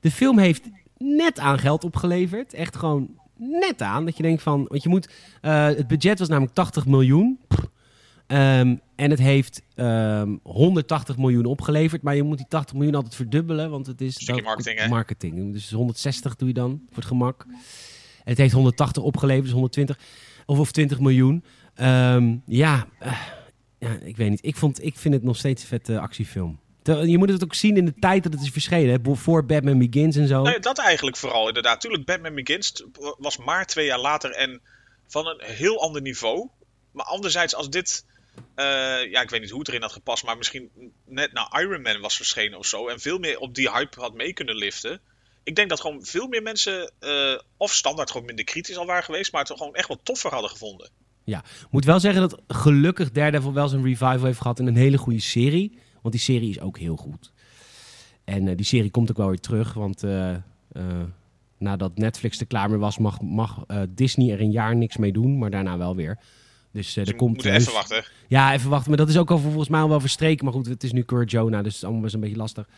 [SPEAKER 2] De film heeft net aan geld opgeleverd. Echt gewoon net aan. Dat je denkt van. Want je moet. eh, het budget was namelijk 80 miljoen. Pff. Ehm, en het heeft ehm, 180 miljoen opgeleverd. Maar je moet die 80 miljoen altijd verdubbelen. Want het is.
[SPEAKER 3] Stukje marketing, hè?
[SPEAKER 2] marketing. Dus 160 doe je dan. Voor het gemak. En het heeft 180 opgeleverd. Dus 120. Of, of 20 miljoen. Ehm, ja. eh, ja, ik weet niet. Ik, vond, ik vind het nog steeds een vette actiefilm. Terwijl- Je moet het ook zien in de tijd dat het is verschenen. Hè? bo- Voor Batman Begins en zo.
[SPEAKER 3] Nou, ja, dat eigenlijk vooral, inderdaad. Tuurlijk, Batman Begins t- was maar twee jaar later en van een heel ander niveau. Maar anderzijds, als dit... eh, ja, ik weet niet hoe het erin had gepast, maar misschien net na Iron Man was verschenen of zo. En veel meer op die hype had mee kunnen liften. Ik denk dat gewoon veel meer mensen, eh, of standaard gewoon minder kritisch al waren geweest, maar het gewoon echt wat toffer hadden gevonden.
[SPEAKER 2] Ja, moet wel zeggen dat gelukkig Daredevil wel zijn revival heeft gehad in een hele goede serie. Want die serie is ook heel goed. En eh, die serie komt ook wel weer terug, want eh, eh, nadat Netflix er klaar mee was, mag, mag eh, Disney er een jaar niks mee doen, maar daarna wel weer. Dus eh
[SPEAKER 3] Dus
[SPEAKER 2] er
[SPEAKER 3] we
[SPEAKER 2] komt
[SPEAKER 3] moeten
[SPEAKER 2] heus-
[SPEAKER 3] even wachten.
[SPEAKER 2] Ja, even wachten. Maar dat is ook al volgens mij al wel verstreken. Maar goed, het is nu Curt Jonah, dus het is allemaal best een beetje lastig.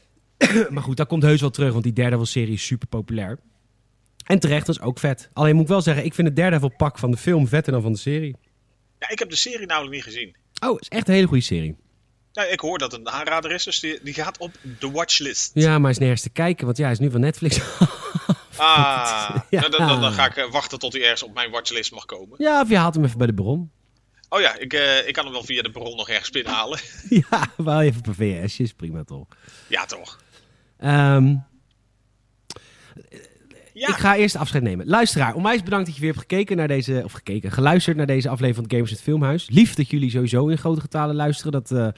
[SPEAKER 2] [coughs] maar goed, dat komt heus wel terug, want die Daredevil-serie is super populair. En terecht, dat is ook vet. Alleen moet ik wel zeggen, ik vind het Daredevil-pak van de film vetter dan van de serie.
[SPEAKER 3] Ja, ik heb de serie namelijk niet gezien.
[SPEAKER 2] Oh, is echt een hele goede serie.
[SPEAKER 3] Nou, ik hoor dat het een aanrader is, dus die, die gaat op de watchlist.
[SPEAKER 2] Ja, maar hij is nergens te kijken, want ja, hij is nu van Netflix. [laughs]
[SPEAKER 3] Ah,
[SPEAKER 2] Ja.
[SPEAKER 3] nou, dan, dan, dan ga ik eh, wachten tot hij ergens op mijn watchlist mag komen.
[SPEAKER 2] ja, of je haalt hem even bij de bron.
[SPEAKER 3] Oh ja, ik, eh, ik kan hem wel via de bron nog ergens binnenhalen. [laughs]
[SPEAKER 2] ja, [laughs] wel even per VS, is prima toch.
[SPEAKER 3] Ja, toch?
[SPEAKER 2] Ehm,
[SPEAKER 3] Ja,
[SPEAKER 2] Ik ga eerst afscheid nemen. Luisteraar, onwijs bedankt dat je weer hebt gekeken naar deze, of gekeken, geluisterd naar deze aflevering van Gamers in het Filmhuis. Lief dat jullie sowieso in grote getalen luisteren. Dat, eh,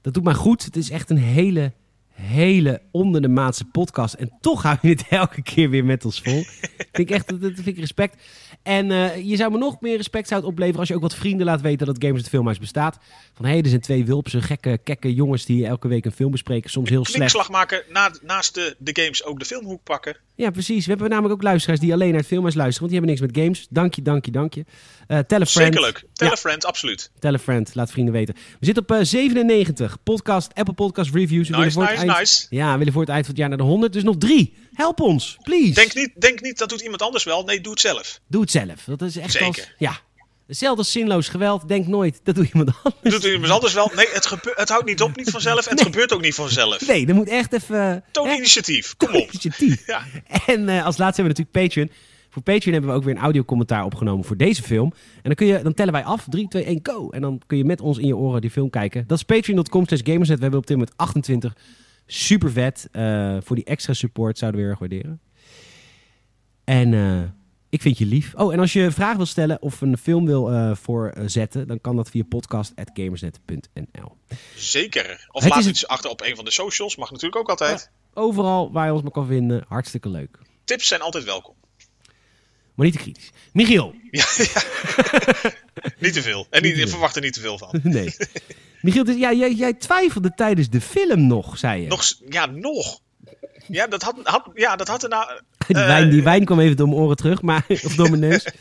[SPEAKER 2] dat doet mij goed. Het is echt een hele, hele onder de maatse podcast. En toch houden jullie het [laughs] elke keer weer met ons vol. vind ik echt, dat, dat vind ik respect. En eh, je zou me nog meer respect zou het opleveren als je ook wat vrienden laat weten dat Gamers in het Filmhuis bestaat. Van hé, hey, er zijn twee wulpse, gekke, kekke jongens die elke week een film bespreken. Soms heel slecht.
[SPEAKER 3] klikslag maken, na, naast de, de games ook de filmhoek pakken.
[SPEAKER 2] Ja, precies. We hebben namelijk ook luisteraars die alleen naar het filmhuis luisteren, want die hebben niks met games. Dank je, dank je, dank je. Eh, tell a friend.
[SPEAKER 3] Zeker leuk. Tell
[SPEAKER 2] Ja.
[SPEAKER 3] a friend, absoluut.
[SPEAKER 2] Tell a friend, laat vrienden weten. We zitten op eh, 97 podcast, Apple Podcast reviews. We
[SPEAKER 3] Nice,
[SPEAKER 2] voor het
[SPEAKER 3] nice,
[SPEAKER 2] eind-
[SPEAKER 3] nice.
[SPEAKER 2] Ja, we willen voor het eind van het jaar naar de 100, dus nog drie. Help ons, please.
[SPEAKER 3] Denk niet, denk niet, dat doet iemand anders wel. Nee, doe het
[SPEAKER 2] [laughs]
[SPEAKER 3] zelf.
[SPEAKER 2] Doe het zelf. Dat is echt
[SPEAKER 3] Zeker.
[SPEAKER 2] als ja. Hetzelfde als zinloos geweld. Denk nooit, dat doe iemand anders.
[SPEAKER 3] Doet iemand anders wel. Nee, het, gebe- het houdt niet op, niet vanzelf. En het gebeurt ook niet vanzelf.
[SPEAKER 2] Nee, dat moet echt even...
[SPEAKER 3] Toon
[SPEAKER 2] hè?
[SPEAKER 3] initiatief, kom op.
[SPEAKER 2] initiatief.
[SPEAKER 3] Ja.
[SPEAKER 2] En eh, als laatste hebben we natuurlijk Patreon. Voor Patreon hebben we ook weer een audiocommentaar opgenomen voor deze film. En dan, kun je, dan tellen wij af. 3, 2, 1, go. En dan kun je met ons in je oren die film kijken. Dat is patreon.com slash gamerset. We hebben op dit moment 28. Super vet. Eh, voor die extra support zouden we heel erg waarderen. En eh, ik vind je lief. Oh, en als je een vraag wil stellen of een film wil eh, voorzetten... dan kan dat via podcast.gamersnet.nl.
[SPEAKER 3] Zeker. Of
[SPEAKER 2] Het
[SPEAKER 3] laat
[SPEAKER 2] is
[SPEAKER 3] iets achter op een van de socials. Mag natuurlijk ook altijd.
[SPEAKER 2] Overal waar je ons maar kan vinden. Hartstikke leuk.
[SPEAKER 3] Tips zijn altijd welkom.
[SPEAKER 2] Maar niet te kritisch. Michiel.
[SPEAKER 3] Niet te veel. En niet,
[SPEAKER 2] te veel.
[SPEAKER 3] verwacht er niet te veel van.
[SPEAKER 2] [laughs] Nee. Michiel, dus, ja, jij, jij twijfelde tijdens de film nog, zei je.
[SPEAKER 3] Nog, s- ja, nog. Ja, dat had, had, ja, dat had er nou
[SPEAKER 2] [laughs] Die,
[SPEAKER 3] Eh,
[SPEAKER 2] wijn, die wijn kwam even door mijn oren terug, maar, [laughs] of door mijn neus.
[SPEAKER 3] eh,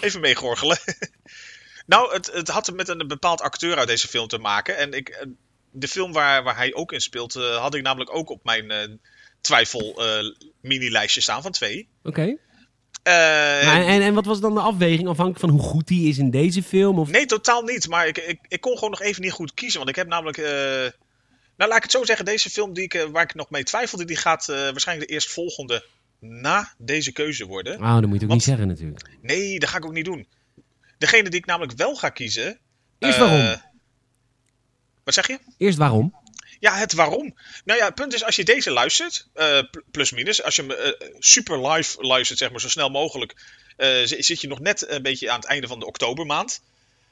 [SPEAKER 3] even meegorgelen. [laughs] nou, het, het had met een bepaald acteur uit deze film te maken. En ik, eh, de film waar, waar hij ook in speelt, eh, had ik namelijk ook op mijn eh, twijfel eh, mini-lijstje staan van twee.
[SPEAKER 2] Oké.
[SPEAKER 3] Eh,
[SPEAKER 2] Maar En, en wat was dan de afweging, afhankelijk van hoe goed die is in deze film? Of...
[SPEAKER 3] Nee, totaal niet. Maar ik, ik, ik kon gewoon nog even niet goed kiezen. Want ik heb namelijk. eh, nou, laat ik het zo zeggen. Deze film die ik, eh, waar ik nog mee twijfelde, die gaat eh, waarschijnlijk de eerstvolgende na deze keuze worden.
[SPEAKER 2] Oh, dat moet je ook
[SPEAKER 3] Want-
[SPEAKER 2] niet zeggen natuurlijk.
[SPEAKER 3] Nee, dat ga ik ook niet doen. Degene die ik namelijk wel ga kiezen.
[SPEAKER 2] Eerst
[SPEAKER 3] eh,
[SPEAKER 2] waarom.
[SPEAKER 3] Wat zeg je?
[SPEAKER 2] Eerst waarom?
[SPEAKER 3] Ja, het waarom. Nou ja, het punt is, als je deze luistert, eh, pl- plus minus, als je hem eh, super live luistert, zeg maar, zo snel mogelijk, eh, zi- zit je nog net een beetje aan het einde van de oktobermaand.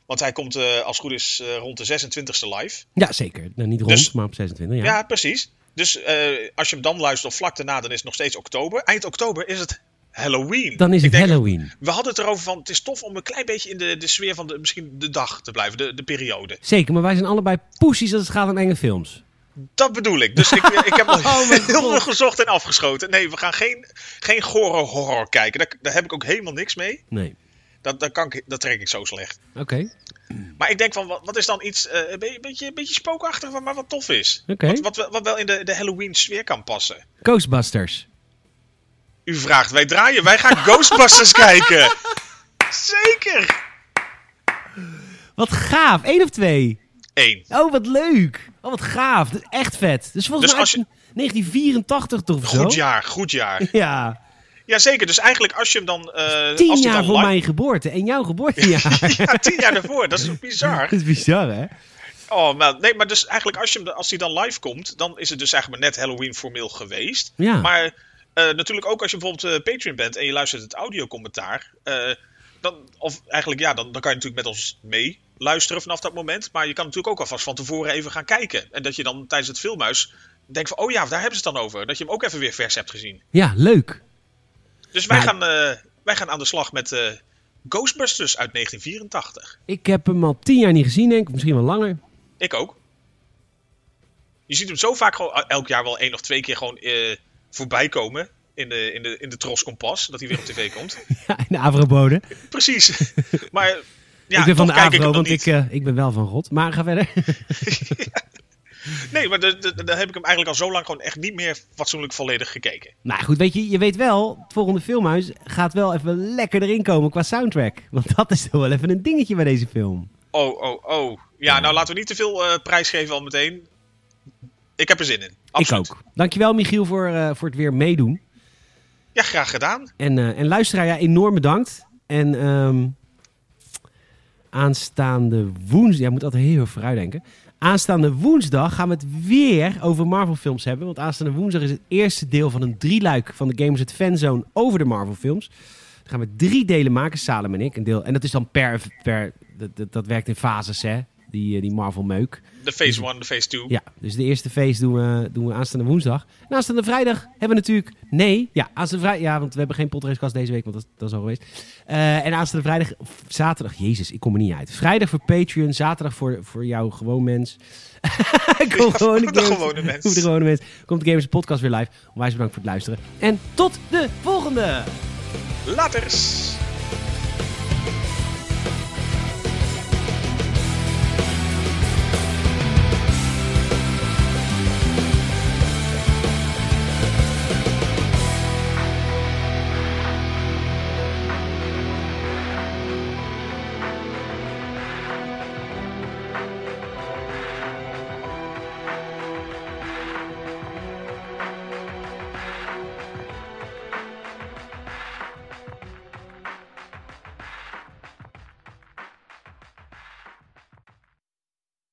[SPEAKER 3] Want hij komt, eh, als het goed is, eh, rond de 26e live.
[SPEAKER 2] Ja, zeker. Nou, niet rond,
[SPEAKER 3] Dus-
[SPEAKER 2] maar op 26. Ja.
[SPEAKER 3] Ja, precies. Dus eh, als je hem dan luistert of vlak daarna, dan is het nog steeds oktober. Eind oktober is het Halloween.
[SPEAKER 2] Dan is
[SPEAKER 3] Ik
[SPEAKER 2] het
[SPEAKER 3] denk-
[SPEAKER 2] Halloween.
[SPEAKER 3] We hadden het erover van, het is tof om een klein beetje in de, de sfeer van de, misschien de dag te blijven, de, de periode.
[SPEAKER 2] Zeker, maar wij zijn allebei poesies als het gaat om enge films.
[SPEAKER 3] Dat bedoel ik. Dus ik, ik
[SPEAKER 2] [laughs]
[SPEAKER 3] heb al
[SPEAKER 2] Oh mijn
[SPEAKER 3] [laughs] heel
[SPEAKER 2] God.
[SPEAKER 3] veel gezocht en afgeschoten. Nee, we gaan geen, geen gore horror kijken. Daar, daar heb ik ook helemaal niks mee.
[SPEAKER 2] Nee.
[SPEAKER 3] Dat, dat, kan ik, dat trek ik zo slecht.
[SPEAKER 2] Oké, oké.
[SPEAKER 3] Maar ik denk van, wat, wat is dan iets, eh, een be- beetje, een beetje spookachtig, maar- maar wat tof is. Wat, wel- wat wel in de, de Halloween sfeer kan passen.
[SPEAKER 2] Ghostbusters.
[SPEAKER 3] U vraagt, wij draaien, wij gaan Ghostbusters [laughs] kijken. Zeker!
[SPEAKER 2] Wat gaaf. Eén of twee?
[SPEAKER 3] Eén.
[SPEAKER 2] Oh, wat leuk. Oh, wat gaaf. Dat is echt vet. Dus volgens
[SPEAKER 3] Dus
[SPEAKER 2] mij
[SPEAKER 3] als je-
[SPEAKER 2] uit 1984 toch of zo?
[SPEAKER 3] Goed jaar, goed jaar.
[SPEAKER 2] Ja.
[SPEAKER 3] Jazeker, dus eigenlijk als je hem dan... eh
[SPEAKER 2] Tien
[SPEAKER 3] als die
[SPEAKER 2] jaar
[SPEAKER 3] dan
[SPEAKER 2] voor
[SPEAKER 3] live-
[SPEAKER 2] mijn geboorte en jouw geboortejaar.
[SPEAKER 3] [laughs] Ja, tien jaar daarvoor, dat is toch bizar?
[SPEAKER 2] [laughs] Dat is bizar, hè?
[SPEAKER 3] Oh, maar, nee, maar dus eigenlijk als, je, hem- als die dan live komt, dan is het dus eigenlijk maar net Halloween formeel geweest.
[SPEAKER 2] Ja.
[SPEAKER 3] Maar eh, natuurlijk ook als je bijvoorbeeld eh, Patreon bent en je luistert het audiocommentaar. eh, dan, of eigenlijk ja, dan, dan kan je natuurlijk met ons mee luisteren vanaf dat moment. Maar je kan natuurlijk ook alvast van tevoren even gaan kijken. En dat je dan tijdens het filmhuis denkt van, oh ja, daar hebben ze het dan over. Dat je hem ook even weer vers hebt gezien.
[SPEAKER 2] Ja, leuk.
[SPEAKER 3] Dus wij,
[SPEAKER 2] Maar-
[SPEAKER 3] gaan, eh, wij gaan aan de slag met eh, Ghostbusters uit 1984.
[SPEAKER 2] Ik heb hem al tien jaar niet gezien, denk ik. Misschien wel langer. [laughs]
[SPEAKER 3] Ik ook. Je ziet hem zo vaak gewoon eh, elk jaar wel één of twee keer gewoon eh, voorbij komen. In de, in, de, in de Tros Kompas, dat hij weer op tv
[SPEAKER 2] [laughs]
[SPEAKER 3] komt.
[SPEAKER 2] Ja, in de Avrobode.
[SPEAKER 3] Precies. Maar eh, ja,
[SPEAKER 2] ik ben van de
[SPEAKER 3] toch
[SPEAKER 2] Avro,
[SPEAKER 3] kijk ik hem dan
[SPEAKER 2] want
[SPEAKER 3] niet.
[SPEAKER 2] ik, eh, ik ben wel van God. Maar ga verder. [laughs]
[SPEAKER 3] Nee, maar de- de- de- dan heb ik hem eigenlijk al zo lang gewoon echt niet meer fatsoenlijk volledig gekeken.
[SPEAKER 2] Nou goed, weet je, je weet wel, het volgende filmhuis gaat wel even lekker erin komen qua soundtrack. Want dat is toch wel even een dingetje bij deze film.
[SPEAKER 3] Oh, oh, oh. Ja, nou laten we niet te veel eh, prijs geven al meteen. Ik heb er zin in. Absoluut.
[SPEAKER 2] Ik ook. Dankjewel Michiel voor, eh, voor het weer meedoen.
[SPEAKER 3] Ja, graag gedaan.
[SPEAKER 2] En, eh, en luisteraar, ja, enorm bedankt. En ehm, aanstaande woensdag, jij moet altijd heel erg vooruit denken. Aanstaande woensdag gaan we het weer over Marvel films hebben. Want aanstaande woensdag is het eerste deel van een drieluik van de Gamers het Fanzone over de Marvel films. Dan gaan we drie delen maken, Salem en ik. Een deel, en dat is dan per, per dat, dat, dat werkt in fases hè, die, eh, die Marvel meuk.
[SPEAKER 3] De phase 1, de phase 2.
[SPEAKER 2] Ja, dus de eerste feest doen we, doen we aanstaande woensdag. En aanstaande vrijdag hebben we natuurlijk... Nee, ja, aanstaande vrijdag... Ja, want we hebben geen potracecast deze week, want dat, dat is al geweest. Eh, en aanstaande vrijdag... of Zaterdag, jezus, ik kom er niet uit. Vrijdag voor Patreon, zaterdag voor, voor jou gewoon mens. [laughs] ik kom
[SPEAKER 3] Ja,
[SPEAKER 2] gewoon
[SPEAKER 3] voor de gewone mens.
[SPEAKER 2] Voor de gewone mens. Komt de Gamers Podcast weer live. Onwijs bedankt voor het luisteren. En tot de volgende!
[SPEAKER 3] Laters!